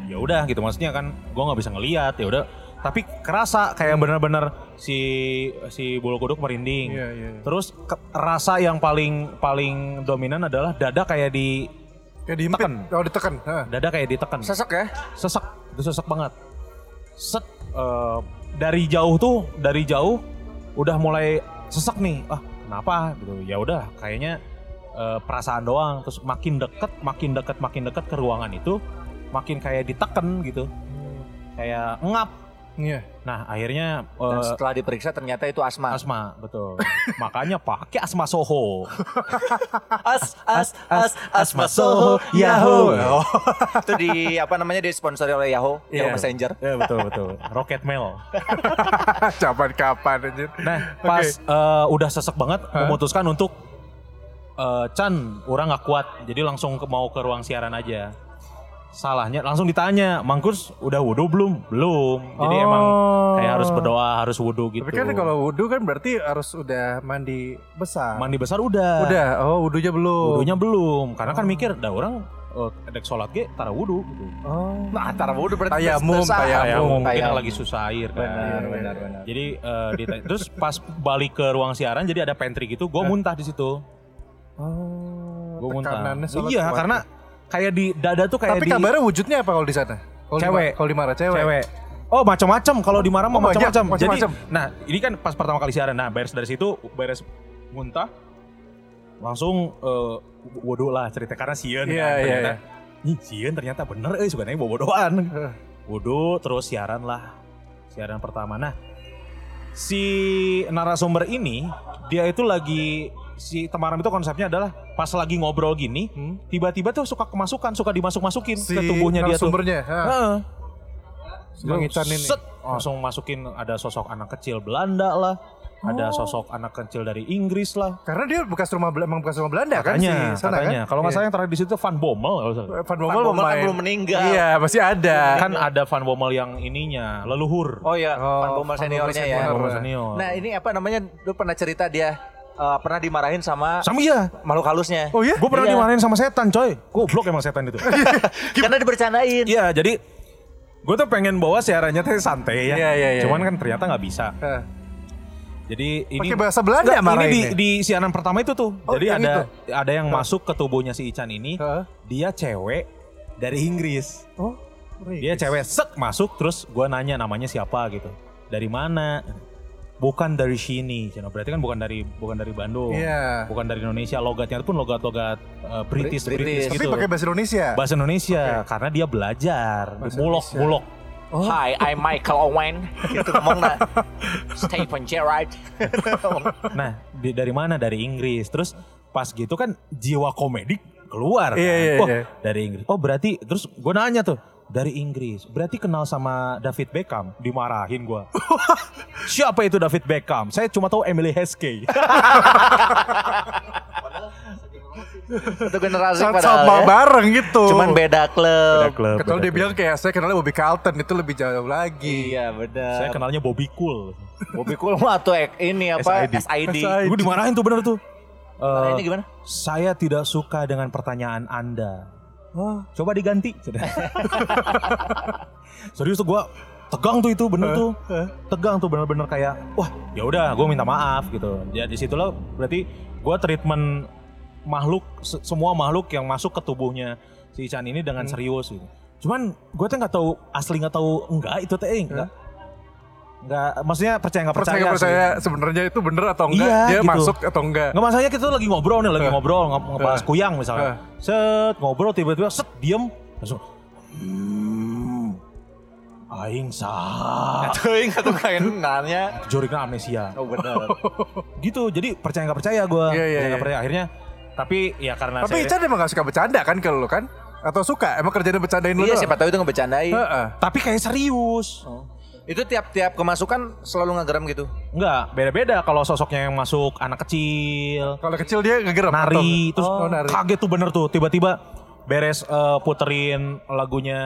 Speaker 4: ya udah gitu maksudnya kan gua nggak bisa ngelihat ya udah tapi kerasa kayak bener-bener si si bulu kuduk merinding
Speaker 2: Iya, iya. iya.
Speaker 4: terus ke- rasa yang paling paling dominan adalah dada kayak di
Speaker 2: Kayak diimpit.
Speaker 4: Tekan.
Speaker 2: Oh, ditekan. Hah.
Speaker 4: dada kayak ditekan
Speaker 3: Sesek ya.
Speaker 4: sesek itu sesek banget set eh, dari jauh tuh dari jauh udah mulai sesek nih ah kenapa gitu ya udah kayaknya eh, perasaan doang terus makin deket makin deket makin deket ke ruangan itu makin kayak diteken gitu kayak ngap
Speaker 2: Iya.
Speaker 4: nah akhirnya
Speaker 3: Dan
Speaker 4: eh,
Speaker 3: setelah diperiksa ternyata itu asma.
Speaker 4: asma betul makanya pakai asma soho
Speaker 3: As as as
Speaker 4: asma soho yahoo
Speaker 3: itu di apa namanya disponsori oleh Yahoo, Yahoo
Speaker 4: Iya.
Speaker 3: Messenger.
Speaker 4: ya betul betul rocket mail
Speaker 2: Hah, Kapan kapan anjir.
Speaker 4: Nah,
Speaker 2: Oke.
Speaker 4: pas eh, udah sesek banget
Speaker 2: Hah?
Speaker 4: memutuskan untuk eh, Chan, orang nggak kuat, jadi langsung ke, mau ke ruang siaran aja. Salahnya langsung ditanya, Mangkus udah wudhu belum? Belum. Jadi
Speaker 2: Oh.
Speaker 4: emang kayak harus berdoa, harus wudhu gitu.
Speaker 2: Tapi kan kalau wudhu kan berarti harus udah mandi besar.
Speaker 4: mandi besar udah,
Speaker 2: Udah, oh wudhunya belum.
Speaker 4: wudhunya belum, karena kan mikir, dah orang eh, dek sholat ge, tara wudhu gitu.
Speaker 2: Oh.
Speaker 3: Nah, antara wudhu berarti
Speaker 2: Tayamum,
Speaker 3: bersahabat.
Speaker 2: tayamum.
Speaker 4: Kayak mungkin
Speaker 3: Tayamum.
Speaker 4: lagi susah air kan.
Speaker 2: Iya,
Speaker 3: Benar, benar, benar.
Speaker 4: Jadi eh, ditanya- terus pas balik ke ruang siaran, jadi ada pantry gitu, gue muntah di situ.
Speaker 2: Oh.
Speaker 4: gue muntah.
Speaker 2: tekanannya soalnya
Speaker 4: Iya,
Speaker 2: kuat. ya.
Speaker 4: karena kayak di dada tuh kayak
Speaker 2: Tapi
Speaker 4: di
Speaker 2: kabarnya wujudnya apa kalau di sana? Kalau di
Speaker 4: Cewek.
Speaker 2: Mara- Kalau di Mara cewek.
Speaker 4: cewek. Oh macam-macam kalau di Marang
Speaker 2: Oh,
Speaker 4: mah
Speaker 2: banyak,
Speaker 4: macam-macam. Jadi,
Speaker 2: macam-macam.
Speaker 4: nah ini kan pas pertama kali siaran. Nah beres dari situ beres muntah, langsung eh, wudhu lah cerita karena
Speaker 2: Iya,
Speaker 4: sieun kan,
Speaker 2: iya,
Speaker 4: ternyata.
Speaker 2: iya.
Speaker 4: Ih, sieun ternyata bener eh suka bawa doan.
Speaker 2: Heeh.
Speaker 4: Wudhu terus siaran lah. Siaran pertama. Nah si narasumber ini dia itu lagi si temaram itu konsepnya adalah pas lagi ngobrol gini
Speaker 2: Hmm.
Speaker 4: tiba-tiba tuh suka kemasukan suka dimasuk-masukin
Speaker 2: Si
Speaker 4: ke tubuhnya dia tuh
Speaker 2: narasumbernya, ha.
Speaker 4: Heeh.
Speaker 2: Si Bang Ican ini.
Speaker 4: Set, langsung masukin ada sosok anak kecil Belanda lah, ada sosok anak kecil dari Inggris lah.
Speaker 2: Karena dia bekas rumah Bel- emang bekas rumah Belanda kan si
Speaker 4: Katanya,
Speaker 2: sana
Speaker 4: katanya.
Speaker 2: kan?
Speaker 4: Kalau nggak
Speaker 2: Iya.
Speaker 4: salah yang terakhir di situ Van Bommel kalau nggak salah.
Speaker 2: Van
Speaker 3: Pak
Speaker 2: Bommel
Speaker 3: Bommel kan
Speaker 2: pemain.
Speaker 3: belum meninggal.
Speaker 2: Iya, masih ada.
Speaker 4: Kan ada Van Bommel yang ininya, leluhur.
Speaker 3: Oh iya,
Speaker 2: Oh,
Speaker 3: Van Bommel
Speaker 2: Van
Speaker 3: seniornya ya.
Speaker 2: Bommel
Speaker 4: Bommel senior.
Speaker 3: Nah, ini apa namanya? Lu pernah cerita dia eh, pernah dimarahin sama
Speaker 4: sama iya.
Speaker 3: makhluk halusnya.
Speaker 2: Oh iya?
Speaker 4: Gue pernah
Speaker 3: Iya.
Speaker 4: dimarahin sama setan, coy. Goblok emang setan itu.
Speaker 3: Karena dibercandain.
Speaker 4: Iya, jadi gue tuh pengen bawa siarannya teh santai ya.
Speaker 2: Iya, iya, iya.
Speaker 4: Cuman kan ternyata nggak bisa.
Speaker 2: Hah.
Speaker 4: Jadi ini
Speaker 2: Pakai bahasa Belanda
Speaker 4: Nggak,
Speaker 2: marah
Speaker 4: ini
Speaker 2: ini.
Speaker 4: di, di siaran pertama itu tuh.
Speaker 2: Oh,
Speaker 4: Jadi
Speaker 2: yang
Speaker 4: ada ada yang masuk ke tubuhnya si Ican ini.
Speaker 2: Hah?
Speaker 4: Dia cewek dari Inggris.
Speaker 2: Oh.
Speaker 4: Dia cewek sek masuk terus gua nanya namanya siapa gitu. Dari mana? bukan dari sini, Cina. Berarti kan bukan dari bukan dari Bandung,
Speaker 2: Iya.
Speaker 4: bukan dari Indonesia. Logatnya pun logat-logat eh, British,
Speaker 3: Brit- British.
Speaker 4: British,
Speaker 2: Tapi
Speaker 4: gitu.
Speaker 2: pakai bahasa Indonesia.
Speaker 4: bahasa Indonesia karena dia belajar.
Speaker 2: Bahasa
Speaker 4: mulok,
Speaker 2: Indonesia.
Speaker 4: mulok. Oh.
Speaker 5: Hi, I'm Michael Owen.
Speaker 3: Gitu,
Speaker 5: Itu ngomongnya Stephen Gerrard.
Speaker 4: Nah, di- dari mana? Dari Inggris. Terus pas gitu kan jiwa komedik keluar. kan.
Speaker 2: Iya, iya,
Speaker 4: oh,
Speaker 2: iya.
Speaker 4: dari Inggris. Oh, berarti terus gue nanya tuh, dari Inggris. Berarti kenal sama David Beckham, dimarahin gua. Siapa itu David Beckham? Saya cuma tahu Emily Heskey.
Speaker 3: Satu generasi
Speaker 2: Saat
Speaker 3: padahal
Speaker 2: sama
Speaker 3: ya.
Speaker 2: bareng gitu.
Speaker 3: Cuman beda klub.
Speaker 2: Kecuali dia bilang kayak saya kenalnya Bobby Carlton itu lebih jauh lagi.
Speaker 3: Iya benar.
Speaker 4: Saya kenalnya Bobby Cool.
Speaker 3: Bobby Kulmo atau ek- ini apa
Speaker 4: SID.
Speaker 3: SID.
Speaker 4: Gue dimarahin tuh bener tuh. Eh,
Speaker 3: Nah, Ini gimana?
Speaker 4: saya tidak suka dengan pertanyaan Anda. Coba diganti. Serius tuh gue tegang tuh itu bener tuh. Tegang tuh bener-bener kayak wah ya udah gue minta maaf gitu. Ya di situlah berarti gue treatment makhluk se- semua makhluk yang masuk ke tubuhnya si Ican ini
Speaker 2: Hmm.
Speaker 4: dengan serius gitu. Cuman gue tuh nggak tahu asli nggak tahu enggak itu teh enggak. Enggak, maksudnya percaya nggak
Speaker 2: Percaya
Speaker 4: percaya.
Speaker 2: nggak
Speaker 4: sih.
Speaker 2: percaya sebenarnya itu bener atau enggak?
Speaker 4: Iya,
Speaker 2: dia
Speaker 4: gitu.
Speaker 2: masuk atau enggak?
Speaker 4: Nggak masalahnya kita tuh lagi ngobrol nih, lagi ngobrol, nge- ngebahas kuyang misalnya.
Speaker 2: Eh.
Speaker 4: Set, ngobrol tiba-tiba set diem langsung "Hmm, aing sah.
Speaker 3: Tuing satu kain nanya.
Speaker 4: Jorikna amnesia.
Speaker 3: Oh benar.
Speaker 4: Gitu, jadi percaya nggak percaya
Speaker 2: Iya,
Speaker 4: gua.
Speaker 2: iya,
Speaker 4: Percaya nggak
Speaker 2: iya.
Speaker 4: percaya akhirnya tapi ya karena
Speaker 2: Tapi
Speaker 4: saya-
Speaker 2: Ican emang gak suka bercanda kan kalau lu kan? Atau suka? Emang kerjanya bercandain lu
Speaker 3: iya
Speaker 2: doang?
Speaker 3: siapa tahu itu ngebercandain.
Speaker 2: Heeh.
Speaker 4: tapi kayak serius.
Speaker 3: Itu tiap-tiap kemasukan selalu ngegeram gitu.
Speaker 4: Enggak, beda-beda kalau sosoknya yang masuk anak kecil,
Speaker 2: Kalau kecil dia ngegerem
Speaker 4: nari,
Speaker 2: atau-
Speaker 4: terus
Speaker 2: oh, nari.
Speaker 4: kaget tuh bener tuh tiba-tiba beres eh, puterin lagunya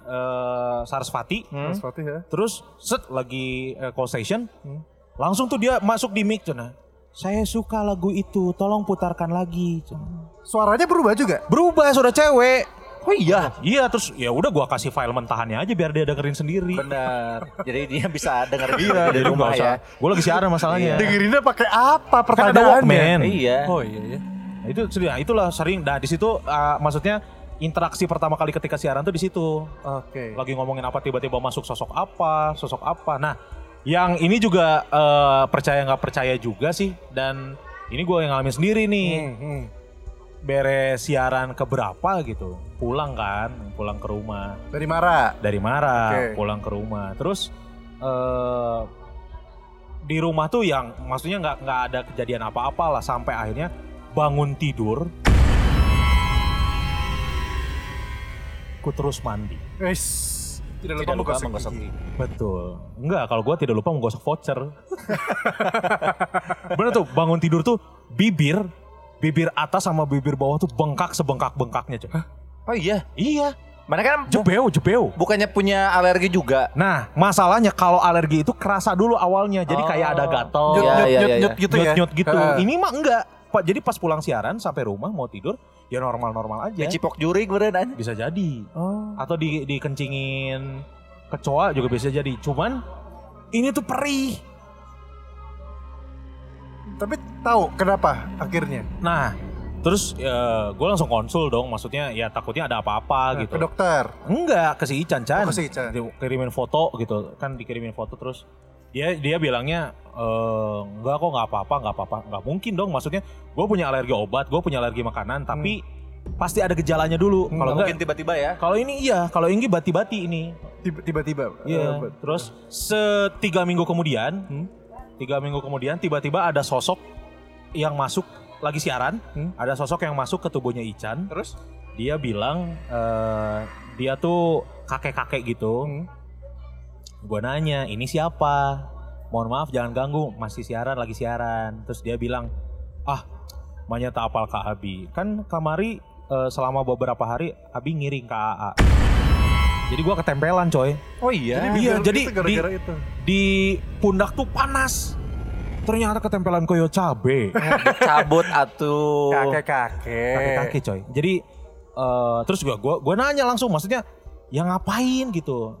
Speaker 4: eh, Sarasvati.
Speaker 2: Mas Fatih ya.
Speaker 4: Terus set lagi eh, call station, langsung tuh dia masuk di mic cina. Saya suka lagu itu, tolong putarkan lagi. cina.
Speaker 2: Suaranya berubah juga.
Speaker 4: Berubah sudah cewek.
Speaker 3: Oh iya.
Speaker 4: Iya terus ya udah gua kasih file mentahannya aja biar dia dengerin sendiri.
Speaker 3: Benar. Jadi dia bisa denger
Speaker 4: Iya,
Speaker 3: di
Speaker 4: jadi
Speaker 3: rumah
Speaker 4: nggak usah.
Speaker 3: ya.
Speaker 4: Gue lagi siaran masalahnya.
Speaker 2: Dengerinnya pakai apa
Speaker 4: Oh, iya. Kan ada
Speaker 2: pertanyaannya?
Speaker 4: Walkman.
Speaker 3: Iya.
Speaker 2: Oh iya iya.
Speaker 4: Nah, itu sudah itulah sering. Nah di situ ah, maksudnya interaksi pertama kali ketika siaran tuh di situ.
Speaker 2: Oke.
Speaker 4: lagi ngomongin apa tiba-tiba masuk sosok apa sosok apa nah yang ini juga eh, percaya nggak percaya juga sih dan ini gue yang ngalamin sendiri
Speaker 2: Hmm.
Speaker 4: nih beres siaran keberapa gitu pulang kan pulang ke rumah
Speaker 2: Dari Mara.
Speaker 4: dari Mara
Speaker 2: Oke.
Speaker 4: pulang ke rumah terus eh di rumah tuh yang maksudnya nggak nggak ada kejadian apa-apa lah sampai akhirnya bangun tidur ku terus mandi
Speaker 2: Guys. Tidak lupa
Speaker 3: Tidak lupa
Speaker 2: menggosok
Speaker 3: menggosok
Speaker 2: gigi.
Speaker 4: Betul. Enggak, kalau gue tidak lupa menggosok voucher. Bener tuh, bangun tidur tuh bibir, bibir atas sama bibir bawah tuh bengkak sebengkak-bengkaknya. Cok.
Speaker 3: Oh iya.
Speaker 4: Iya,
Speaker 3: Mana kan bu-
Speaker 4: jebeo, jebeo.
Speaker 3: bukannya punya alergi juga.
Speaker 4: Nah, masalahnya kalau alergi itu kerasa dulu awalnya, jadi kayak ada
Speaker 2: Iya,
Speaker 4: gatel,
Speaker 3: Nyut,
Speaker 4: ya,
Speaker 3: nyut,
Speaker 4: ya,
Speaker 3: nyut, nyut
Speaker 4: ya, ya.
Speaker 2: Oh. gitu ya?
Speaker 4: Nyut, nyut gitu.
Speaker 2: Heeh.
Speaker 4: Ini mah enggak. Pak, jadi pas pulang siaran sampai rumah mau tidur, ya normal-normal aja.
Speaker 3: Cipok juri kemudian.
Speaker 4: Bisa jadi.
Speaker 2: Oh.
Speaker 4: atau di dikencingin kecoa juga bisa jadi. Cuman ini tuh perih.
Speaker 2: Tapi tahu kenapa akhirnya?
Speaker 4: Nah, terus gue langsung konsul dong, maksudnya ya takutnya ada apa-apa
Speaker 2: Nah,
Speaker 4: gitu. Kan.
Speaker 2: Ke dokter.
Speaker 4: Enggak, ke si Ican Chan.
Speaker 2: Oh, ke si Ican.
Speaker 4: Dikirimin foto gitu, kan dikirimin foto terus dia dia bilangnya "Eh, enggak kok nggak apa-apa nggak apa-apa nggak mungkin dong maksudnya gue punya alergi obat gue punya alergi makanan tapi
Speaker 2: Hmm.
Speaker 4: pasti ada gejalanya dulu kalau
Speaker 3: Kalau
Speaker 4: enggak
Speaker 3: mungkin tiba-tiba ya.
Speaker 4: kalau ini iya kalau ini bati-bati ini
Speaker 2: Tiba- Tiba-tiba.
Speaker 4: Iya.
Speaker 2: Eh,
Speaker 4: Terus setiga minggu kemudian,
Speaker 2: Hmm.
Speaker 4: tiga minggu kemudian tiba-tiba ada sosok yang masuk lagi siaran,
Speaker 2: Hmm.
Speaker 4: ada sosok yang masuk ke tubuhnya Ican.
Speaker 3: Terus?
Speaker 4: Dia bilang eh, dia tuh kakek-kakek gitu.
Speaker 2: Hmm.
Speaker 4: Gua nanya ini siapa? Mohon maaf jangan ganggu, masih siaran lagi siaran. Terus dia bilang, ah manya tak apal Kak Abi. Kan kamari eh, selama beberapa hari Abi ngiring ke AA. Jadi gua ketempelan coy
Speaker 3: Oh iya.
Speaker 2: Jadi
Speaker 4: Iya,
Speaker 2: biar
Speaker 4: jadi
Speaker 2: itu gara-gara itu.
Speaker 4: di pundak tuh panas. Ternyata ketempelan koyo cabe.
Speaker 3: Cabut
Speaker 4: Oh.
Speaker 3: atuh.
Speaker 4: Kaki-kaki coy. Jadi eh, terus gua gua gua nanya langsung maksudnya ya ngapain gitu.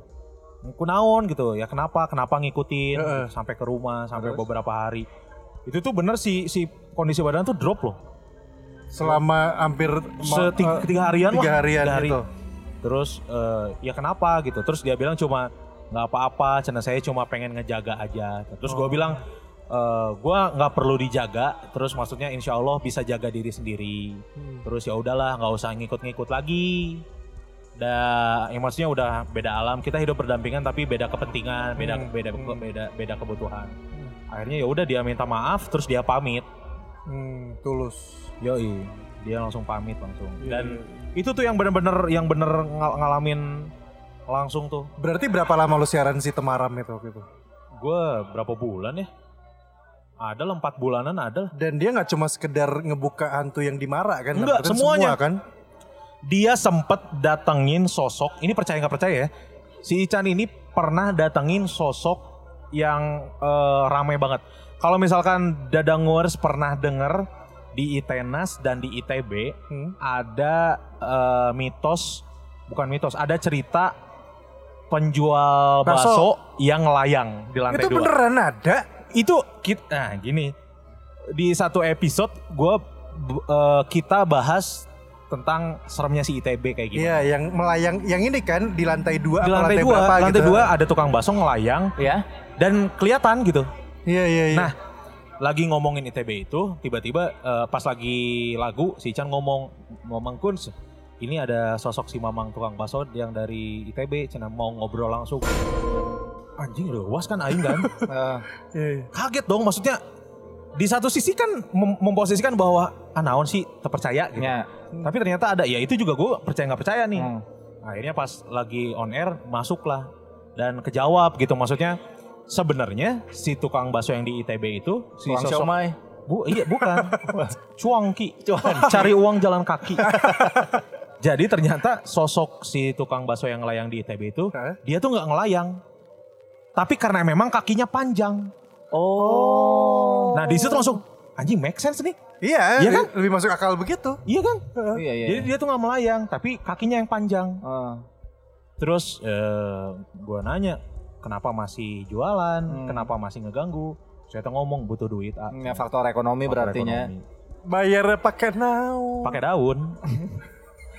Speaker 4: Kunaon gitu. Ya kenapa? Kenapa ngikutin
Speaker 2: Heeh.
Speaker 4: sampai ke rumah sampai
Speaker 3: Terus?
Speaker 4: beberapa hari. Itu tuh bener si si kondisi badan tuh drop loh.
Speaker 2: Selama hampir
Speaker 4: Setiga
Speaker 2: eh,
Speaker 4: tiga harian
Speaker 2: tiga
Speaker 4: lah,
Speaker 2: harian
Speaker 4: tiga hari.
Speaker 2: gitu.
Speaker 4: Terus eh, ya kenapa gitu. Terus dia bilang cuma nggak apa-apa cina saya cuma pengen ngejaga aja terus gue bilang "Eh, gua nggak perlu dijaga terus maksudnya insya Allah bisa jaga diri sendiri terus ya udahlah nggak usah ngikut-ngikut lagi Udah, ya maksudnya udah beda alam kita hidup berdampingan tapi beda kepentingan beda beda beda beda kebutuhan akhirnya ya udah dia minta maaf terus dia pamit
Speaker 2: Hmm, tulus.
Speaker 4: Yoi, dia langsung pamit langsung. Dan itu tuh yang bener-bener yang bener ngal- ngalamin langsung tuh.
Speaker 2: Berarti berapa lama lu siaran si Temaram itu waktu itu?
Speaker 4: Gue berapa bulan ya? Ada lah empat bulanan ada. lah.
Speaker 2: Dan dia nggak cuma sekedar ngebuka hantu yang dimara kan?
Speaker 4: Nggak,
Speaker 2: Tapi kan
Speaker 4: semuanya.
Speaker 2: Semua, kan?
Speaker 4: Dia sempet datengin sosok. Ini percaya nggak percaya ya? Si Ican ini pernah datengin sosok yang eh, ramai banget. Kalau misalkan Dadangers pernah denger di ITENAS dan di ITB
Speaker 2: Hmm.
Speaker 4: ada eh, mitos bukan mitos ada cerita penjual
Speaker 2: Bakso.
Speaker 4: bakso yang layang di lantai
Speaker 2: Itu
Speaker 4: dua
Speaker 2: beneran ada?
Speaker 4: itu kita nah gini di satu episode gue kita bahas tentang seremnya si ITB kayak gini
Speaker 2: Iya, yang melayang, yang ini kan di lantai dua,
Speaker 4: di
Speaker 2: apa
Speaker 4: lantai dua
Speaker 2: berapa
Speaker 4: lantai
Speaker 2: gitu?
Speaker 4: dua ada tukang bakso ngelayang
Speaker 5: Ya.
Speaker 4: dan kelihatan gitu
Speaker 2: Iya, iya, iya.
Speaker 4: Nah, lagi ngomongin ITB itu, tiba-tiba eh, pas lagi lagu si Chan ngomong ngomong Kuns, ini ada sosok si Mamang tukang bakso yang dari ITB, Cina mau ngobrol langsung. Anjing luas kan aing kan.
Speaker 3: Eh,
Speaker 2: Ah, iya, iya.
Speaker 4: Kaget dong maksudnya di satu sisi kan mem- memposisikan bahwa ah naon sih terpercaya gitu.
Speaker 3: Ya.
Speaker 4: Tapi ternyata ada ya itu juga gue percaya nggak percaya nih.
Speaker 3: Hmm.
Speaker 4: Akhirnya pas lagi on air masuklah dan kejawab gitu maksudnya sebenarnya si tukang bakso yang di ITB itu si
Speaker 3: Tuang
Speaker 4: sosok
Speaker 3: siomay.
Speaker 4: Bu, iya bukan. Cuangki. Cari uang jalan kaki. Jadi ternyata sosok si tukang bakso yang ngelayang di ITB itu,
Speaker 2: Hah?
Speaker 4: dia tuh nggak ngelayang. Tapi karena memang kakinya panjang.
Speaker 3: Oh.
Speaker 4: Nah di situ langsung, anjing make sense nih.
Speaker 2: Iya,
Speaker 4: Iya kan?
Speaker 2: lebih masuk akal begitu.
Speaker 4: Iya kan?
Speaker 3: Iya, iya.
Speaker 4: Jadi dia tuh nggak melayang, tapi kakinya yang panjang.
Speaker 3: Ah.
Speaker 4: Terus eh, gua nanya, kenapa masih jualan? Kenapa masih ngeganggu? Saya tuh ngomong butuh duit. ah."
Speaker 3: Ya, faktor ekonomi
Speaker 4: Faktor
Speaker 3: berarti nya.
Speaker 4: ekonomi.
Speaker 2: Bayar pakai naon.
Speaker 4: Pakai daun.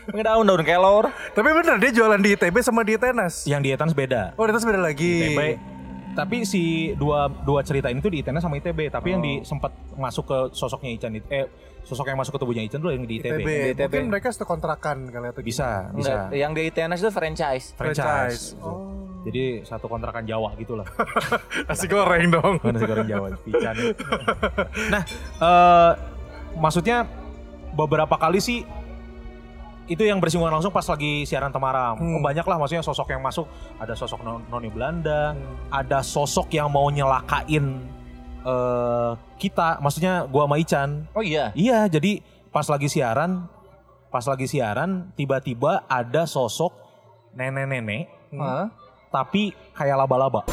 Speaker 3: Ngedaun daun kelor.
Speaker 2: Tapi bener dia jualan di ITB sama di Tenas.
Speaker 4: Yang di E Etans beda.
Speaker 2: Oh, di Tenas beda lagi.
Speaker 4: ITB. Tapi si dua dua cerita ini tuh di E ITN sama ITB, tapi yang di sempat masuk ke sosoknya Ican itu- eh sosok yang masuk ke tubuhnya Ican dulu yang di
Speaker 2: ITB.
Speaker 4: ITB.
Speaker 3: Di ITB.
Speaker 2: Mungkin mereka satu kontrakan kali atau gimana.
Speaker 4: Bisa, bisa.
Speaker 3: Enggak,
Speaker 5: eh,
Speaker 3: yang di ITNS itu franchise.
Speaker 2: franchise.
Speaker 4: franchise. Jadi satu kontrakan Jawa gitu lah.
Speaker 2: Nasi goreng dong.
Speaker 4: Nasi goreng Jawa, Ican. nah, eh maksudnya beberapa kali sih itu yang bersinggungan langsung pas lagi siaran Temaram.
Speaker 2: Hmm.
Speaker 4: Oh, banyak lah maksudnya sosok yang masuk, ada sosok non- noni Belanda, ada sosok yang mau nyelakain eh kita, maksudnya gua sama Ican.
Speaker 3: Oh iya.
Speaker 4: Iya, jadi pas lagi siaran, pas lagi siaran tiba-tiba ada sosok nenek-nenek
Speaker 2: Hmm.
Speaker 3: Hah?
Speaker 4: tapi kayak laba-laba.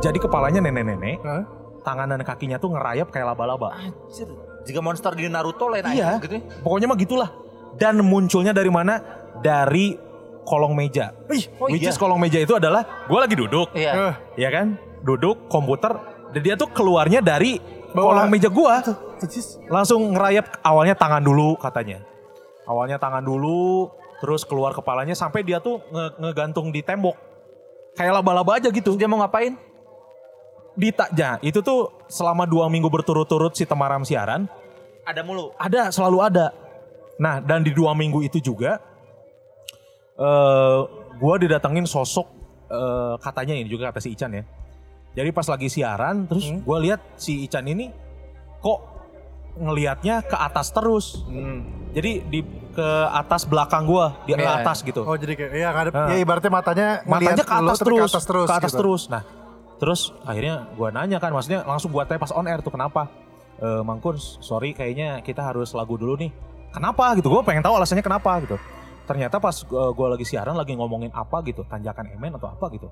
Speaker 4: Jadi kepalanya nenek-nenek,
Speaker 2: Hah?
Speaker 4: tangan dan kakinya tuh ngerayap kayak laba-laba.
Speaker 3: Anjir. Jika monster di Naruto lain
Speaker 4: Iya.
Speaker 3: aja gitu. ya.
Speaker 4: Pokoknya mah gitulah. Dan munculnya dari mana? Dari kolong meja.
Speaker 2: Ih,
Speaker 3: Oh
Speaker 4: Which
Speaker 3: iya.
Speaker 4: is kolong meja itu adalah gua lagi duduk,
Speaker 3: Iya.
Speaker 2: Eh,
Speaker 4: ya kan? Duduk komputer, dan dia tuh keluarnya dari
Speaker 2: Bawah.
Speaker 4: kolong meja gua.
Speaker 2: Ajis.
Speaker 4: langsung ngerayap awalnya tangan dulu katanya awalnya tangan dulu terus keluar kepalanya sampai dia tuh nge- ngegantung di tembok kayak laba-laba aja gitu dia mau ngapain ditaknya itu tuh selama dua minggu berturut-turut si temaram siaran
Speaker 3: Ada mulu.
Speaker 4: ada selalu ada nah dan di dua minggu itu juga eh gua didatengin sosok eh, katanya ini juga kata si Ican ya jadi pas lagi siaran terus gua lihat si Ican ini kok ngelihatnya ke atas terus jadi di ke atas belakang gua dia ke
Speaker 3: Iya,
Speaker 4: atas gitu
Speaker 2: Oh jadi kayak ya ngadep
Speaker 4: Ah.
Speaker 2: ya ibaratnya matanya ngeliat
Speaker 4: matanya ke
Speaker 2: lu,
Speaker 4: atas
Speaker 2: tapi
Speaker 4: terus,
Speaker 2: ke atas terus.
Speaker 4: ke atas
Speaker 2: gitu.
Speaker 4: terus. Nah, terus akhirnya gua nanya kan, maksudnya langsung gua tanya pas on air tuh kenapa? Eh Mang Kuns, sorry kayaknya kita harus lagu dulu nih. Kenapa gitu? Gua pengen tahu alasannya kenapa gitu. Ternyata pas gua, gua lagi siaran lagi ngomongin apa gitu, tanjakan emen atau apa gitu.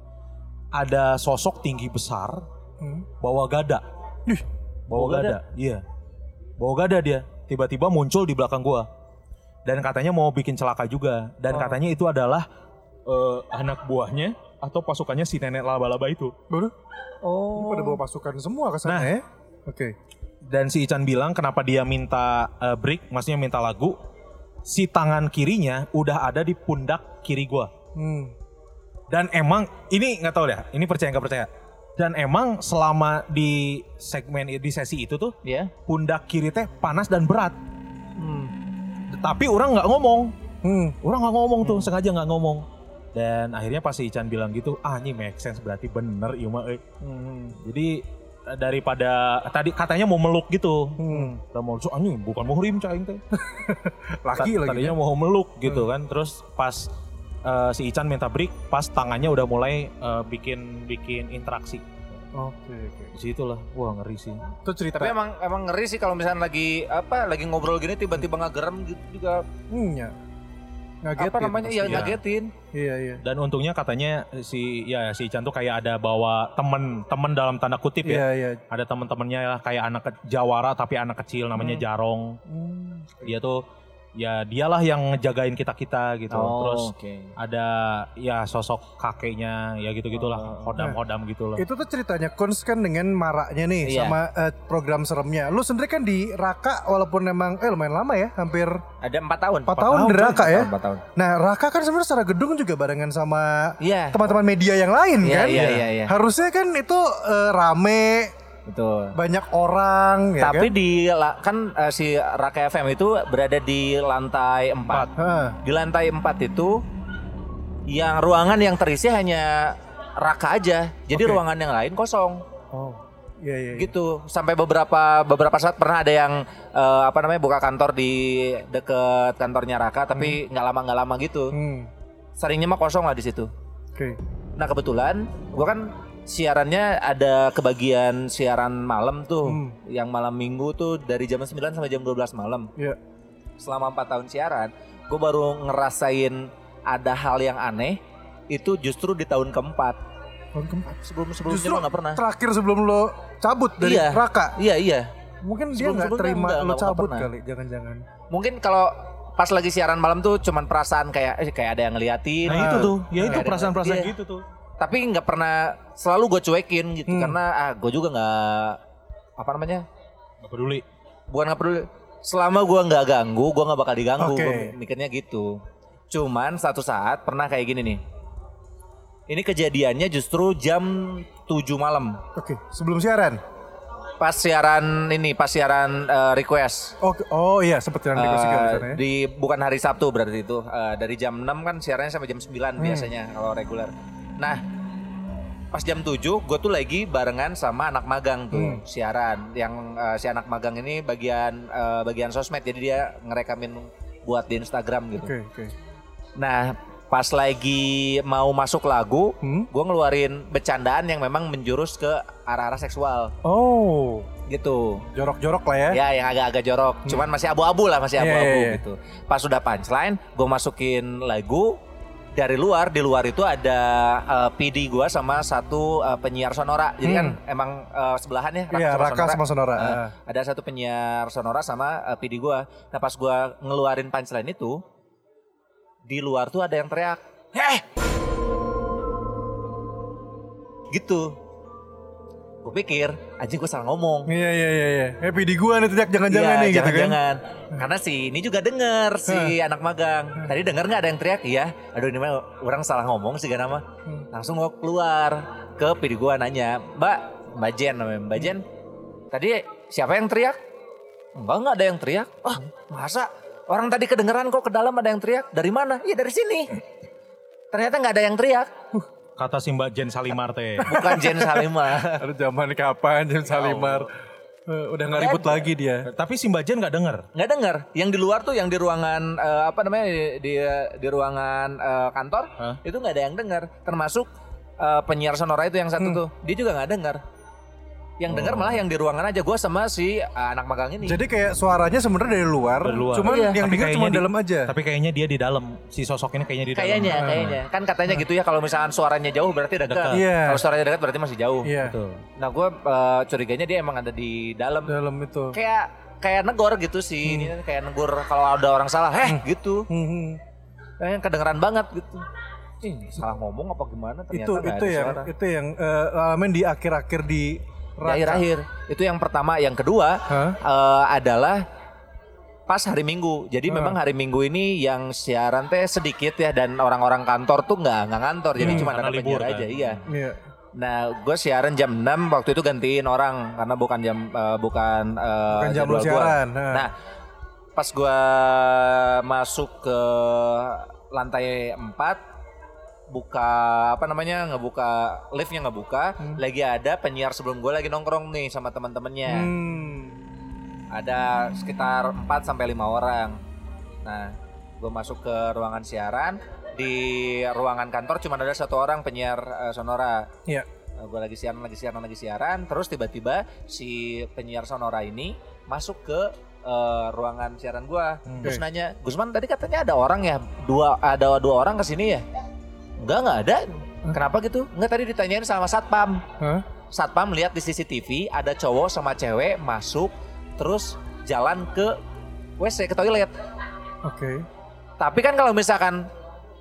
Speaker 4: Ada sosok tinggi besar
Speaker 2: Hmm.
Speaker 4: bawa gada. bawa gada. Iya. Bawa gada dia. Tiba-tiba muncul di belakang gua. Dan katanya mau bikin celaka juga. Dan katanya itu adalah eh, anak buahnya atau pasukannya si nenek laba-laba itu.
Speaker 2: Baru? Oh. Pada bawa pasukan semua ke sana
Speaker 4: Nah.
Speaker 2: ya? Oke.
Speaker 4: Dan si Ican bilang kenapa dia minta eh, break, maksudnya minta lagu. Si tangan kirinya udah ada di pundak kiri gua.
Speaker 2: Hmm.
Speaker 4: Dan emang ini nggak tahu ya, ini percaya nggak percaya. Dan emang selama di segmen di sesi itu tuh
Speaker 5: Iya.
Speaker 4: pundak kiri teh panas dan berat. Hmm. Tapi orang nggak ngomong,
Speaker 2: Hmm.
Speaker 4: orang nggak ngomong tuh sengaja nggak ngomong. Dan akhirnya pas si Ican bilang gitu, ah ini make sense berarti bener iya mah, eh."
Speaker 2: Hmm,
Speaker 4: Jadi eh, daripada tadi katanya mau meluk gitu,
Speaker 2: Hmm.
Speaker 4: kita mau so, anjing bukan muhrim cahing teh.
Speaker 2: Laki
Speaker 4: Ta-
Speaker 2: lagi.
Speaker 4: Tadinya mau meluk gitu kan, terus pas eh, si Ican minta break, pas tangannya udah mulai eh, bikin bikin interaksi.
Speaker 2: Oke, oke.
Speaker 4: Di situ lah, wah ngeri sih.
Speaker 2: Itu cerita.
Speaker 3: Tapi emang emang ngeri sih kalau misalnya lagi apa lagi ngobrol gini tiba-tiba nggak gerem gitu juga
Speaker 2: Hmm, ya. Ngagetin
Speaker 3: apa namanya
Speaker 2: pasti.
Speaker 5: Iya,
Speaker 2: ya.
Speaker 3: yang ngagetin.
Speaker 2: Iya, iya.
Speaker 4: Dan untungnya katanya si ya si Ican tuh kayak ada bawa temen temen dalam tanda kutip ya.
Speaker 2: Iya, iya.
Speaker 4: Ada temen-temennya lah kayak anak ke- jawara tapi anak kecil namanya Jarong.
Speaker 2: Hmm.
Speaker 5: Iya.
Speaker 4: Dia tuh ya dialah yang ngejagain kita kita gitu.
Speaker 3: Oh,
Speaker 5: Oh.
Speaker 4: Terus ada ya sosok kakeknya ya gitu gitulah
Speaker 5: Oh.
Speaker 4: hodam-hodam gitu lah.
Speaker 2: Itu tuh ceritanya Kons kan dengan maraknya nih
Speaker 5: Iya.
Speaker 2: sama eh, program seremnya. Lu sendiri kan di Raka walaupun emang eh lumayan lama ya, hampir
Speaker 5: Ada empat tahun. kan,
Speaker 2: 4 tahun di Raka ya.
Speaker 3: Empat tahun.
Speaker 2: Nah, Raka kan sebenarnya secara gedung juga barengan sama
Speaker 5: Iya.
Speaker 2: teman-teman media yang lain
Speaker 5: Iya,
Speaker 2: kan.
Speaker 5: iya, iya, iya.
Speaker 2: Harusnya kan itu eh, rame,
Speaker 5: Betul.
Speaker 2: banyak orang ya kan.
Speaker 5: Tapi di la- kan eh, si Raka FM itu berada di lantai 4.
Speaker 2: Heeh.
Speaker 5: Di lantai 4 itu yang ruangan yang terisi hanya Raka aja.
Speaker 2: Oke.
Speaker 5: Jadi ruangan yang lain kosong.
Speaker 2: Oh. Iya, iya. iya.
Speaker 5: gitu sampai beberapa beberapa saat pernah ada yang eh, apa namanya buka kantor di deket kantornya Raka tapi nggak lama nggak lama gitu
Speaker 2: Hmm.
Speaker 5: seringnya mah kosong lah di situ
Speaker 2: Oke.
Speaker 5: nah kebetulan gua kan siarannya ada kebagian siaran malam tuh
Speaker 2: Hmm.
Speaker 5: yang malam minggu tuh dari jam 9 sampai jam 12 malam
Speaker 2: Iya.
Speaker 5: selama 4 tahun siaran gue baru ngerasain ada hal yang aneh itu justru di tahun keempat
Speaker 2: Tahun keempat.
Speaker 5: sebelum sebelumnya
Speaker 2: Justru
Speaker 5: gua nggak pernah
Speaker 2: terakhir sebelum lo cabut dari
Speaker 5: Iya.
Speaker 2: Raka.
Speaker 5: iya iya
Speaker 2: Mungkin dia
Speaker 5: Sebelum-
Speaker 2: nggak
Speaker 5: sebelumnya
Speaker 2: terima
Speaker 5: nggak-
Speaker 2: lo
Speaker 5: nggak
Speaker 2: cabut
Speaker 5: pernah.
Speaker 2: kali, jangan-jangan.
Speaker 5: mungkin kalau pas lagi siaran malam tuh cuman perasaan kayak eh, kayak ada yang ngeliatin
Speaker 4: Nah itu tuh, ya itu
Speaker 5: Kayak ada-
Speaker 4: perasaan-perasaan
Speaker 5: Iya.
Speaker 4: gitu tuh.
Speaker 5: tapi nggak pernah selalu gue cuekin gitu
Speaker 2: Hmm.
Speaker 5: karena ah gue juga nggak apa namanya
Speaker 4: Gak peduli.
Speaker 5: bukan nggak peduli selama gue nggak ganggu gue nggak bakal diganggu
Speaker 2: Oke.
Speaker 5: Gua mikirnya gitu cuman satu saat pernah kayak gini nih ini kejadiannya justru jam 7 malam
Speaker 2: Oke, sebelum siaran.
Speaker 5: pas siaran ini pas siaran eh, request
Speaker 2: Oke, oh iya seperti yang dikasih
Speaker 5: Eh,
Speaker 2: uh, ya.
Speaker 5: di bukan hari Sabtu berarti itu Eh, dari jam 6 kan siarannya sampai jam 9
Speaker 2: Hmm.
Speaker 5: biasanya kalau reguler. Nah, pas jam 7 gue tuh lagi barengan sama anak magang
Speaker 2: Hmm.
Speaker 5: tuh siaran. Yang eh, si anak magang ini bagian eh, bagian sosmed jadi dia ngerekamin buat di Instagram gitu.
Speaker 2: Oke, oke.
Speaker 5: Nah, pas lagi mau masuk lagu,
Speaker 2: Hmm?
Speaker 5: gue ngeluarin bercandaan yang memang menjurus ke arah-arah seksual
Speaker 2: Oh,
Speaker 5: gitu.
Speaker 2: jorok-jorok lah ya.
Speaker 5: Ya yang agak-agak jorok, cuman masih abu-abu lah, masih
Speaker 2: Hmm. Iya, iya,
Speaker 5: abu-abu
Speaker 2: iya.
Speaker 5: gitu. Pas sudah punchline, gue masukin lagu dari luar, di luar itu ada eh, PD gue sama satu eh, penyiar sonora. Jadi kan emang eh, sebelahan ya,
Speaker 2: Hmm. Iya, Raka sama Sonora.
Speaker 5: Eh,
Speaker 2: Ah.
Speaker 5: ada satu penyiar sonora sama eh, PD gue. Nah pas gue ngeluarin punchline itu, di luar tuh ada yang teriak, heh, gitu. Gue pikir, anjing gue salah ngomong.
Speaker 2: Iya, iya, iya, iya. Happy di gua nih teriak jangan-jangan
Speaker 5: Iya,
Speaker 2: nih gitu kan.
Speaker 5: jangan-jangan. Karena si ini juga denger si anak magang. Tadi denger nggak ada yang teriak? Iya. Aduh ini mah orang salah ngomong sih karena mah.
Speaker 2: Hmm.
Speaker 5: Langsung gua keluar ke pidi gua nanya, "Mbak, Mbak Jen namanya, Mbak Jen. Tadi siapa yang teriak?" Enggak, enggak ada yang teriak. Wah,
Speaker 2: Hmm.
Speaker 5: masa orang tadi kedengeran kok ke dalam ada yang teriak? Dari mana? Iya dari sini.
Speaker 2: Hmm.
Speaker 5: Ternyata nggak ada yang teriak.
Speaker 4: Kata si Mbak Jen Salimar teh.
Speaker 5: Bukan Jen Salima.
Speaker 2: Aduh, zaman kapan Jam Salimar. Eh, udah nggak ribut lagi dia.
Speaker 4: Tapi si Mbak Jen gak denger.
Speaker 5: nggak dengar yang di luar tuh yang di ruangan eh, apa namanya di di, di ruangan eh, kantor
Speaker 4: Hah?
Speaker 5: itu nggak ada yang dengar termasuk eh, penyiar sonora itu yang
Speaker 2: Hmm.
Speaker 5: satu tuh dia juga nggak dengar yang dengar malah yang di ruangan aja gue sama si eh, anak magang ini
Speaker 2: Jadi kayak suaranya sebenarnya dari luar,
Speaker 4: Dari luar.
Speaker 2: cuman
Speaker 5: Iya.
Speaker 2: yang
Speaker 4: Tapi
Speaker 2: dengar
Speaker 4: kayaknya
Speaker 2: cuma
Speaker 4: di-
Speaker 2: dalam aja.
Speaker 4: Tapi kayaknya dia di dalam. Si sosok ini kayaknya di dalam.
Speaker 5: kayaknya kayaknya kan katanya gitu ya kalau misalkan suaranya jauh berarti dekat
Speaker 4: Dekat.
Speaker 2: Iya.
Speaker 5: kalau suaranya dekat berarti masih jauh
Speaker 2: Iya,
Speaker 4: Betul.
Speaker 5: nah gue curiganya dia emang ada di dalam
Speaker 2: dalam itu.
Speaker 5: kayak kayak negor gitu sih Ini kayak negor kalau ada orang salah heh gitu
Speaker 2: Hmm,
Speaker 5: Kayaknya kedengeran banget gitu. Ih, salah ngomong apa gimana ternyata
Speaker 2: itu
Speaker 5: nggak
Speaker 2: itu
Speaker 5: ada
Speaker 2: ya,
Speaker 5: suara. Ya,
Speaker 2: itu yang eh, alamin di akhir-akhir di
Speaker 5: Di akhir-akhir. Itu yang pertama, yang kedua
Speaker 2: Hah?
Speaker 5: eh, adalah pas hari Minggu.
Speaker 2: Ah.
Speaker 5: Jadi memang hari Minggu ini yang siaran teh sedikit ya dan orang-orang kantor tuh nggak nggak kantor. Jadi
Speaker 2: Hmm.
Speaker 5: cuma
Speaker 4: karena
Speaker 5: ada
Speaker 4: libur
Speaker 5: penyiar
Speaker 4: kan.
Speaker 5: aja. Iya.
Speaker 2: Iya.
Speaker 5: Nah, gue siaran jam 6 waktu itu gantiin orang karena bukan jam eh, bukan eh,
Speaker 2: Bukan jam lu
Speaker 5: jadwal gua.
Speaker 2: siaran.
Speaker 5: Nah, pas gua masuk ke lantai 4 buka apa namanya ngebuka liftnya ngebuka lagi ada penyiar sebelum gua lagi nongkrong nih sama teman-temannya
Speaker 2: Hmm.
Speaker 5: ada sekitar 4 sampai lima orang nah gue masuk ke ruangan siaran di ruangan kantor cuma ada satu orang penyiar eh, sonora
Speaker 2: Iya.
Speaker 5: gue lagi siaran lagi siaran lagi siaran terus tiba-tiba si penyiar sonora ini masuk ke eh, ruangan siaran gua
Speaker 2: Hmm.
Speaker 5: terus nanya Gusman tadi katanya ada orang ya dua ada dua orang kesini ya enggak nggak ada kenapa gitu enggak tadi ditanyain sama satpam
Speaker 2: Hah?
Speaker 5: satpam lihat di CCTV ada cowok sama cewek masuk terus jalan ke WC ke toilet
Speaker 2: Oke.
Speaker 5: tapi kan kalau misalkan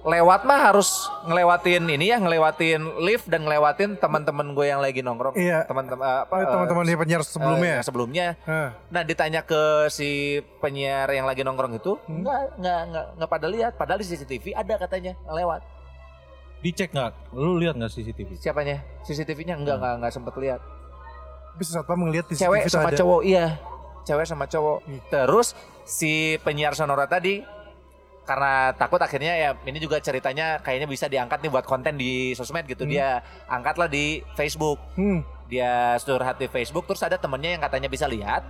Speaker 5: lewat mah harus ngelewatin ini ya, ngelewatin lift dan ngelewatin teman-teman gue yang lagi nongkrong.
Speaker 2: Iya.
Speaker 5: Teman-teman eh, apa
Speaker 2: Oh,
Speaker 5: eh,
Speaker 2: teman-teman di penyiar
Speaker 5: eh,
Speaker 2: sebelumnya. ya?
Speaker 5: sebelumnya.
Speaker 2: Hah.
Speaker 5: Nah, ditanya ke si penyiar yang lagi nongkrong itu,
Speaker 2: Hmm.
Speaker 5: nggak nggak nggak nggak pada lihat, padahal di CCTV ada katanya lewat.
Speaker 4: Dicek nggak? Lu lihat nggak CCTV?
Speaker 5: Siapanya? CCTV-nya
Speaker 2: Hmm.
Speaker 5: enggak enggak enggak sempat lihat.
Speaker 2: Bisa satpam melihat di CCTV
Speaker 5: cewek
Speaker 2: tuh
Speaker 5: sama
Speaker 2: ada.
Speaker 5: cowok iya cewek sama cowok
Speaker 2: Hmm.
Speaker 5: terus si penyiar sonora tadi karena takut akhirnya ya ini juga ceritanya kayaknya bisa diangkat nih buat konten di sosmed gitu dia angkatlah di Facebook
Speaker 2: Hmm.
Speaker 5: dia curhat di Facebook terus ada temennya yang katanya bisa lihat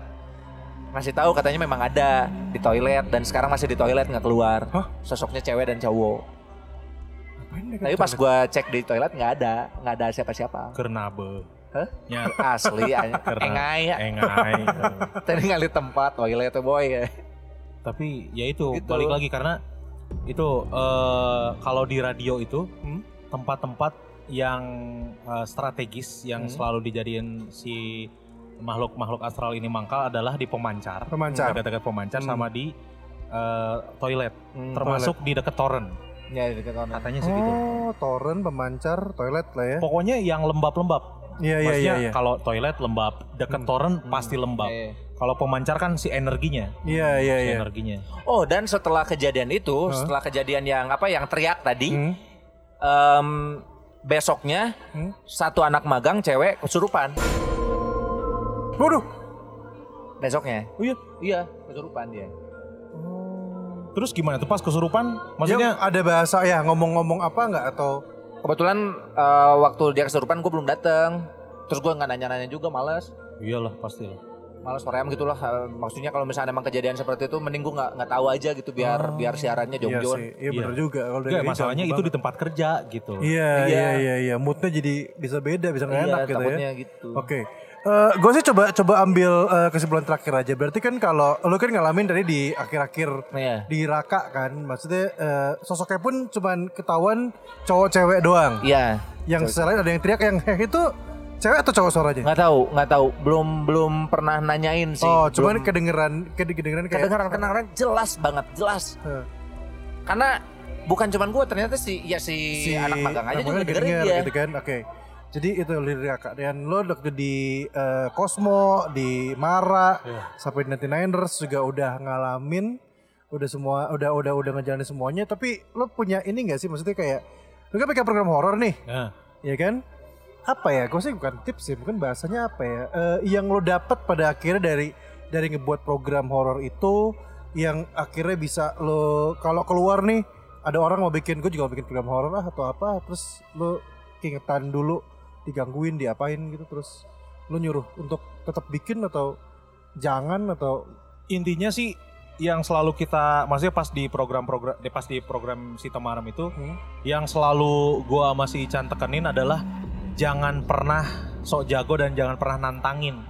Speaker 5: ngasih tahu katanya memang ada di toilet dan sekarang masih di toilet nggak keluar
Speaker 2: Hah?
Speaker 5: sosoknya cewek dan cowok
Speaker 2: Ngapain mereka
Speaker 5: tapi
Speaker 2: di
Speaker 5: pas
Speaker 2: toilet?
Speaker 5: gua cek di toilet nggak ada nggak ada siapa-siapa
Speaker 4: Kernabe.
Speaker 5: Hah?
Speaker 4: Nyar.
Speaker 5: asli an-
Speaker 4: Keren.
Speaker 5: engai
Speaker 4: Engai.
Speaker 5: tadi ngali tempat toilet boy
Speaker 4: Tapi ya itu
Speaker 5: Gitu.
Speaker 4: balik lagi karena itu eh, kalau di radio itu
Speaker 2: Hmm?
Speaker 4: tempat-tempat yang eh, strategis yang
Speaker 5: Hmm.
Speaker 4: selalu dijadiin si makhluk-makhluk astral ini mangkal adalah di pemancar,
Speaker 2: Pemancar.
Speaker 4: dekat-dekat pemancar sama di eh, toilet,
Speaker 5: Hmm,
Speaker 4: termasuk di dekat toren.
Speaker 5: Ya, di dekat kanan.
Speaker 4: Katanya sih gitu.
Speaker 2: Oh, toren, pemancar, toilet lah
Speaker 5: Oh,
Speaker 2: ya.
Speaker 4: Pokoknya yang lembab-lembab.
Speaker 2: Iya, iya, iya.
Speaker 4: Maksudnya
Speaker 2: iya.
Speaker 4: kalau toilet lembab, dekat toren pasti lembab.
Speaker 5: Iya.
Speaker 4: Kalau pemancar kan si energinya,
Speaker 2: Iya, iya,
Speaker 4: si
Speaker 2: iya.
Speaker 4: energinya.
Speaker 5: Oh, dan setelah kejadian itu,
Speaker 2: Hah?
Speaker 5: setelah kejadian yang apa yang teriak tadi,
Speaker 2: Hmm.
Speaker 5: em, besoknya
Speaker 2: Hmm?
Speaker 5: satu anak magang cewek kesurupan.
Speaker 2: Waduh.
Speaker 5: Besoknya.
Speaker 4: Oh iya.
Speaker 5: Iya, kesurupan dia.
Speaker 4: Terus gimana tuh pas kesurupan?
Speaker 2: Maksudnya
Speaker 4: Maksudnya
Speaker 2: ada bahasa ya ngomong-ngomong apa nggak atau
Speaker 5: Kebetulan eh, waktu dia kesurupan gue belum dateng. Terus gue nggak nanya-nanya juga, males.
Speaker 4: iyalah pasti lah.
Speaker 5: Males soream gitu lah. Eh, Maksudnya kalau misalnya emang kejadian seperti itu, mending gue nggak nggak tahu aja gitu biar biar siarannya
Speaker 2: iya
Speaker 5: jongjon.
Speaker 2: sih. Iya bener
Speaker 4: Iya.
Speaker 2: juga kalau dari
Speaker 4: Enggak,
Speaker 2: ini
Speaker 4: masalahnya
Speaker 2: jauh
Speaker 4: itu di
Speaker 2: banget.
Speaker 4: tempat kerja gitu.
Speaker 2: Iya,
Speaker 5: Iya.
Speaker 2: iya, iya, iya. Moodnya jadi bisa beda, bisa nggak
Speaker 5: Iya,
Speaker 2: enak gitu ya.
Speaker 5: takutnya gitu.
Speaker 2: Oke. gue sih coba coba ambil eh, kesimpulan terakhir aja. Berarti kan kalau lu kan ngalamin dari di akhir-akhir
Speaker 5: Iya.
Speaker 2: di Raka kan, maksudnya eh, sosoknya pun cuman ketahuan cowok cewek doang.
Speaker 5: Iya.
Speaker 2: Yang selain ada yang teriak yang "Heh," itu cewek atau cowok suaranya?
Speaker 5: Nggak tahu, nggak tahu. Belum belum pernah nanyain sih.
Speaker 2: Oh,
Speaker 5: Belum-
Speaker 2: cuman kedengeran kedengeran kayak Eh.
Speaker 5: kedengaran kedengaran jelas banget jelas
Speaker 2: Heh.
Speaker 5: karena bukan cuman gue ternyata si ya si, anak magang aja
Speaker 2: anak
Speaker 5: juga
Speaker 2: magang
Speaker 5: dengerin
Speaker 2: denger
Speaker 5: dia
Speaker 2: gitu kan. Oke. Jadi itu lirik kakak dan lo waktu di eh, Cosmo, di Mara, sampai di 99ers juga udah ngalamin udah semua udah udah udah ngejalanin semuanya tapi lo punya ini gak sih maksudnya kayak lo kan pegang program horor nih
Speaker 4: Nah,
Speaker 2: ya kan apa ya gue sih bukan tips sih mungkin bahasanya apa ya Eh, yang lo dapat pada akhirnya dari dari ngebuat program horor itu yang akhirnya bisa lo kalau keluar nih ada orang mau bikin gue juga mau bikin program horor lah atau apa terus lo keingetan dulu digangguin diapain gitu terus lo nyuruh untuk tetap bikin atau jangan atau
Speaker 4: intinya sih yang selalu kita maksudnya pas di program-program di- pas di program si Temaram itu
Speaker 2: Hmm.
Speaker 4: yang selalu gua sama si Ican tekenin adalah jangan pernah sok jago dan jangan pernah nantangin.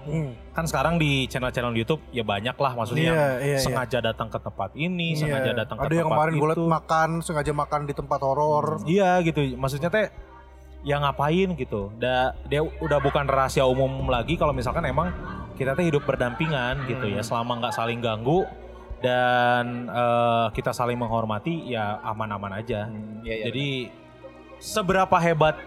Speaker 4: Kan sekarang di channel-channel YouTube ya banyak lah maksudnya yang
Speaker 2: Hmm. iya
Speaker 4: sengaja datang ke tempat ini,
Speaker 2: Iya.
Speaker 4: sengaja datang ke
Speaker 2: ada
Speaker 4: tempat
Speaker 2: yang kemarin gue liat
Speaker 4: itu.
Speaker 2: makan sengaja makan di tempat horor
Speaker 4: Iya gitu, maksudnya teh ya ngapain gitu. Da, dia udah bukan rahasia umum lagi kalau misalkan emang kita teh hidup berdampingan gitu ya, selama nggak saling ganggu dan eh, kita saling menghormati ya aman-aman aja.
Speaker 5: Hmm, iya, iya.
Speaker 4: Jadi seberapa hebat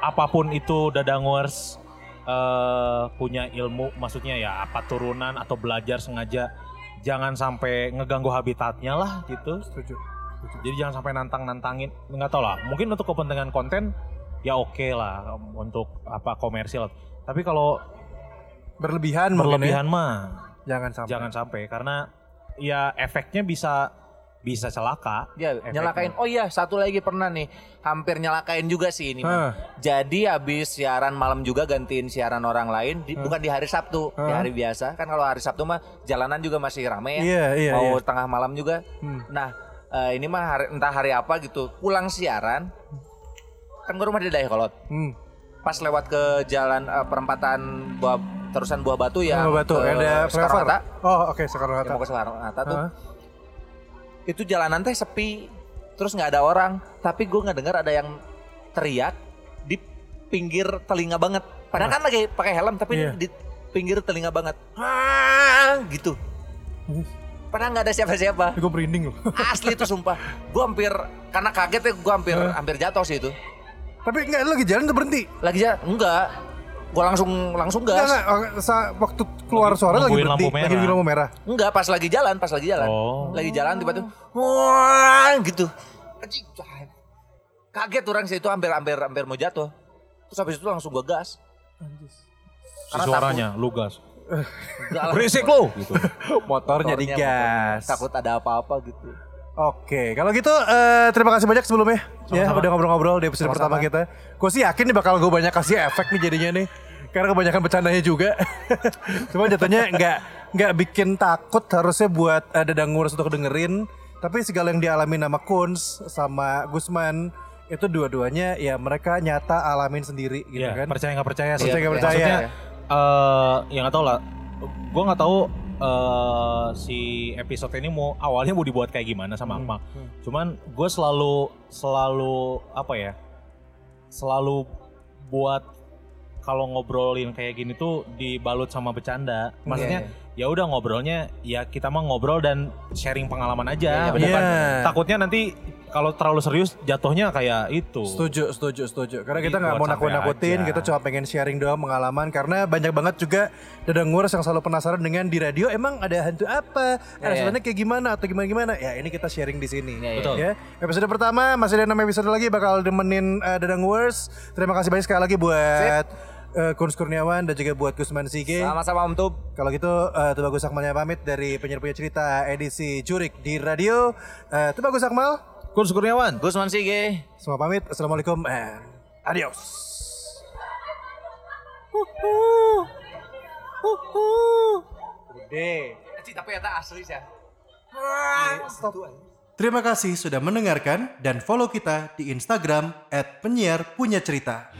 Speaker 4: apapun itu Dadangers eh punya ilmu maksudnya ya apa turunan atau belajar sengaja jangan sampai ngeganggu habitatnya lah gitu. Setuju. Jadi jangan sampai nantang-nantangin, nggak tau lah. Mungkin untuk kepentingan konten ya oke lah untuk apa komersil. Tapi kalau
Speaker 2: Berlebihan, mungkin ya.
Speaker 4: berlebihan mah
Speaker 2: Jangan sampai.
Speaker 4: jangan sampai karena ya efeknya bisa bisa celaka.
Speaker 5: Ya,
Speaker 4: Efeknya.
Speaker 5: nyelakain. Oh iya, satu lagi pernah nih, hampir nyelakain juga sih ini.
Speaker 2: Hah.
Speaker 5: Jadi habis siaran malam juga gantiin siaran orang lain, di- bukan di hari Sabtu, di
Speaker 2: Hah.
Speaker 5: hari biasa. Kan kalau hari Sabtu mah jalanan juga masih rame ya.
Speaker 2: Iya, iya,
Speaker 5: Mau
Speaker 2: iya.
Speaker 5: tengah malam juga.
Speaker 2: Hmm.
Speaker 5: Nah, eh, ini mah hari- entah hari apa gitu, pulang siaran kan ke rumah di Dayakolot.
Speaker 2: Hmm.
Speaker 5: Pas lewat ke jalan eh, perempatan buah, terusan Buah Batu ya.
Speaker 2: Oh, batu. Ada
Speaker 5: Soekarno
Speaker 2: flyover.
Speaker 5: Hatta.
Speaker 2: Oh, oke Soekarno
Speaker 5: Yang
Speaker 2: Hatta.
Speaker 5: Ya, mau ke Soekarno Hatta tuh
Speaker 2: Heeh.
Speaker 5: itu jalanan teh sepi terus nggak ada orang tapi gue nggak dengar ada yang teriak di pinggir telinga banget padahal kan lagi pakai helm tapi
Speaker 2: Iya.
Speaker 5: di pinggir telinga banget "Ah," gitu padahal nggak ada siapa-siapa
Speaker 2: Gue merinding loh.
Speaker 5: asli itu sumpah gue hampir karena kaget ya gue hampir hampir jatuh sih itu
Speaker 2: Tapi enggak lu lagi jalan tuh berhenti.
Speaker 5: lagi aja enggak gue langsung langsung
Speaker 2: Enggak,
Speaker 5: gas
Speaker 2: enggak. Oh, sa- waktu keluar suara lagi
Speaker 4: nungguin
Speaker 2: berhenti.
Speaker 4: lampu
Speaker 2: Lagi di
Speaker 4: merah.
Speaker 2: lampu merah.
Speaker 5: enggak pas lagi jalan pas lagi jalan
Speaker 4: Oh.
Speaker 5: lagi jalan tiba-tiba "Wah," gitu Anjing, wah. kaget orang sih itu hampir hampir hampir mau jatuh terus habis itu langsung gua gas
Speaker 4: Si suaranya lugas.
Speaker 5: Enggak lah,
Speaker 4: Berisik lu gitu.
Speaker 2: Motornya digas.
Speaker 5: takut ada apa-apa gitu
Speaker 2: Oke, kalau gitu eh, terima kasih banyak sebelumnya ya udah ngobrol-ngobrol di episode pertama kita. Gue sih yakin nih bakal gue banyak kasih efek nih jadinya nih, karena kebanyakan bercandanya juga. Cuma jatuhnya nggak nggak bikin takut harusnya buat eh, Dadang Ngurus untuk dengerin. Tapi segala yang dialami nama Kuns sama Gusman itu dua-duanya ya mereka nyata alamin sendiri gitu
Speaker 4: Iya,
Speaker 2: kan.
Speaker 4: percaya nggak percaya
Speaker 5: Iya,
Speaker 4: sih.
Speaker 2: Percaya nggak percaya.
Speaker 4: Maksudnya, eh ya nggak tahu lah. Gue nggak tahu eh si episode ini mau awalnya mau dibuat kayak gimana
Speaker 2: Hmm,
Speaker 4: sama Akmal. Cuman gue selalu selalu apa ya? Selalu buat kalau ngobrolin kayak gini tuh dibalut sama bercanda. Maksudnya
Speaker 2: Iya,
Speaker 4: ya udah ngobrolnya ya kita mah ngobrol dan sharing pengalaman
Speaker 5: Iya, iya,
Speaker 4: aja. Bukan-
Speaker 2: Iya.
Speaker 4: Takutnya nanti kalau terlalu serius jatuhnya kayak itu.
Speaker 2: Setuju, setuju, setuju. Karena
Speaker 4: Jadi
Speaker 2: kita nggak
Speaker 4: buat
Speaker 2: mau
Speaker 4: santai
Speaker 2: nakut-nakutin,
Speaker 4: aja.
Speaker 2: kita cuma pengen sharing doang pengalaman. Karena banyak banget juga dadang ngurus yang selalu penasaran dengan di radio emang ada hantu apa, ada
Speaker 5: iya.
Speaker 2: suaranya kayak gimana atau gimana gimana. Ya ini kita sharing di sini.
Speaker 5: Iya, iya.
Speaker 4: Betul.
Speaker 2: Ya. Episode pertama masih ada 6 episode lagi bakal demenin uh, dadang ngurus. Terima kasih banyak sekali lagi buat uh, Kuns Kurniawan dan juga buat Gusman
Speaker 4: Iya.
Speaker 2: Sige.
Speaker 5: sama-sama Om Tub
Speaker 2: Kalau gitu eh Tuba Gus Akmalnya pamit dari penyiar punya cerita edisi Jurik di radio. Eh Tuba Gus Akmal,
Speaker 4: Kursus Kurniawan.
Speaker 5: Gusman Sige
Speaker 2: semua pamit. Assalamualaikum and adios.
Speaker 5: tapi ya asli sih
Speaker 1: Terima kasih sudah mendengarkan dan follow kita di Instagram @penyiar punya cerita.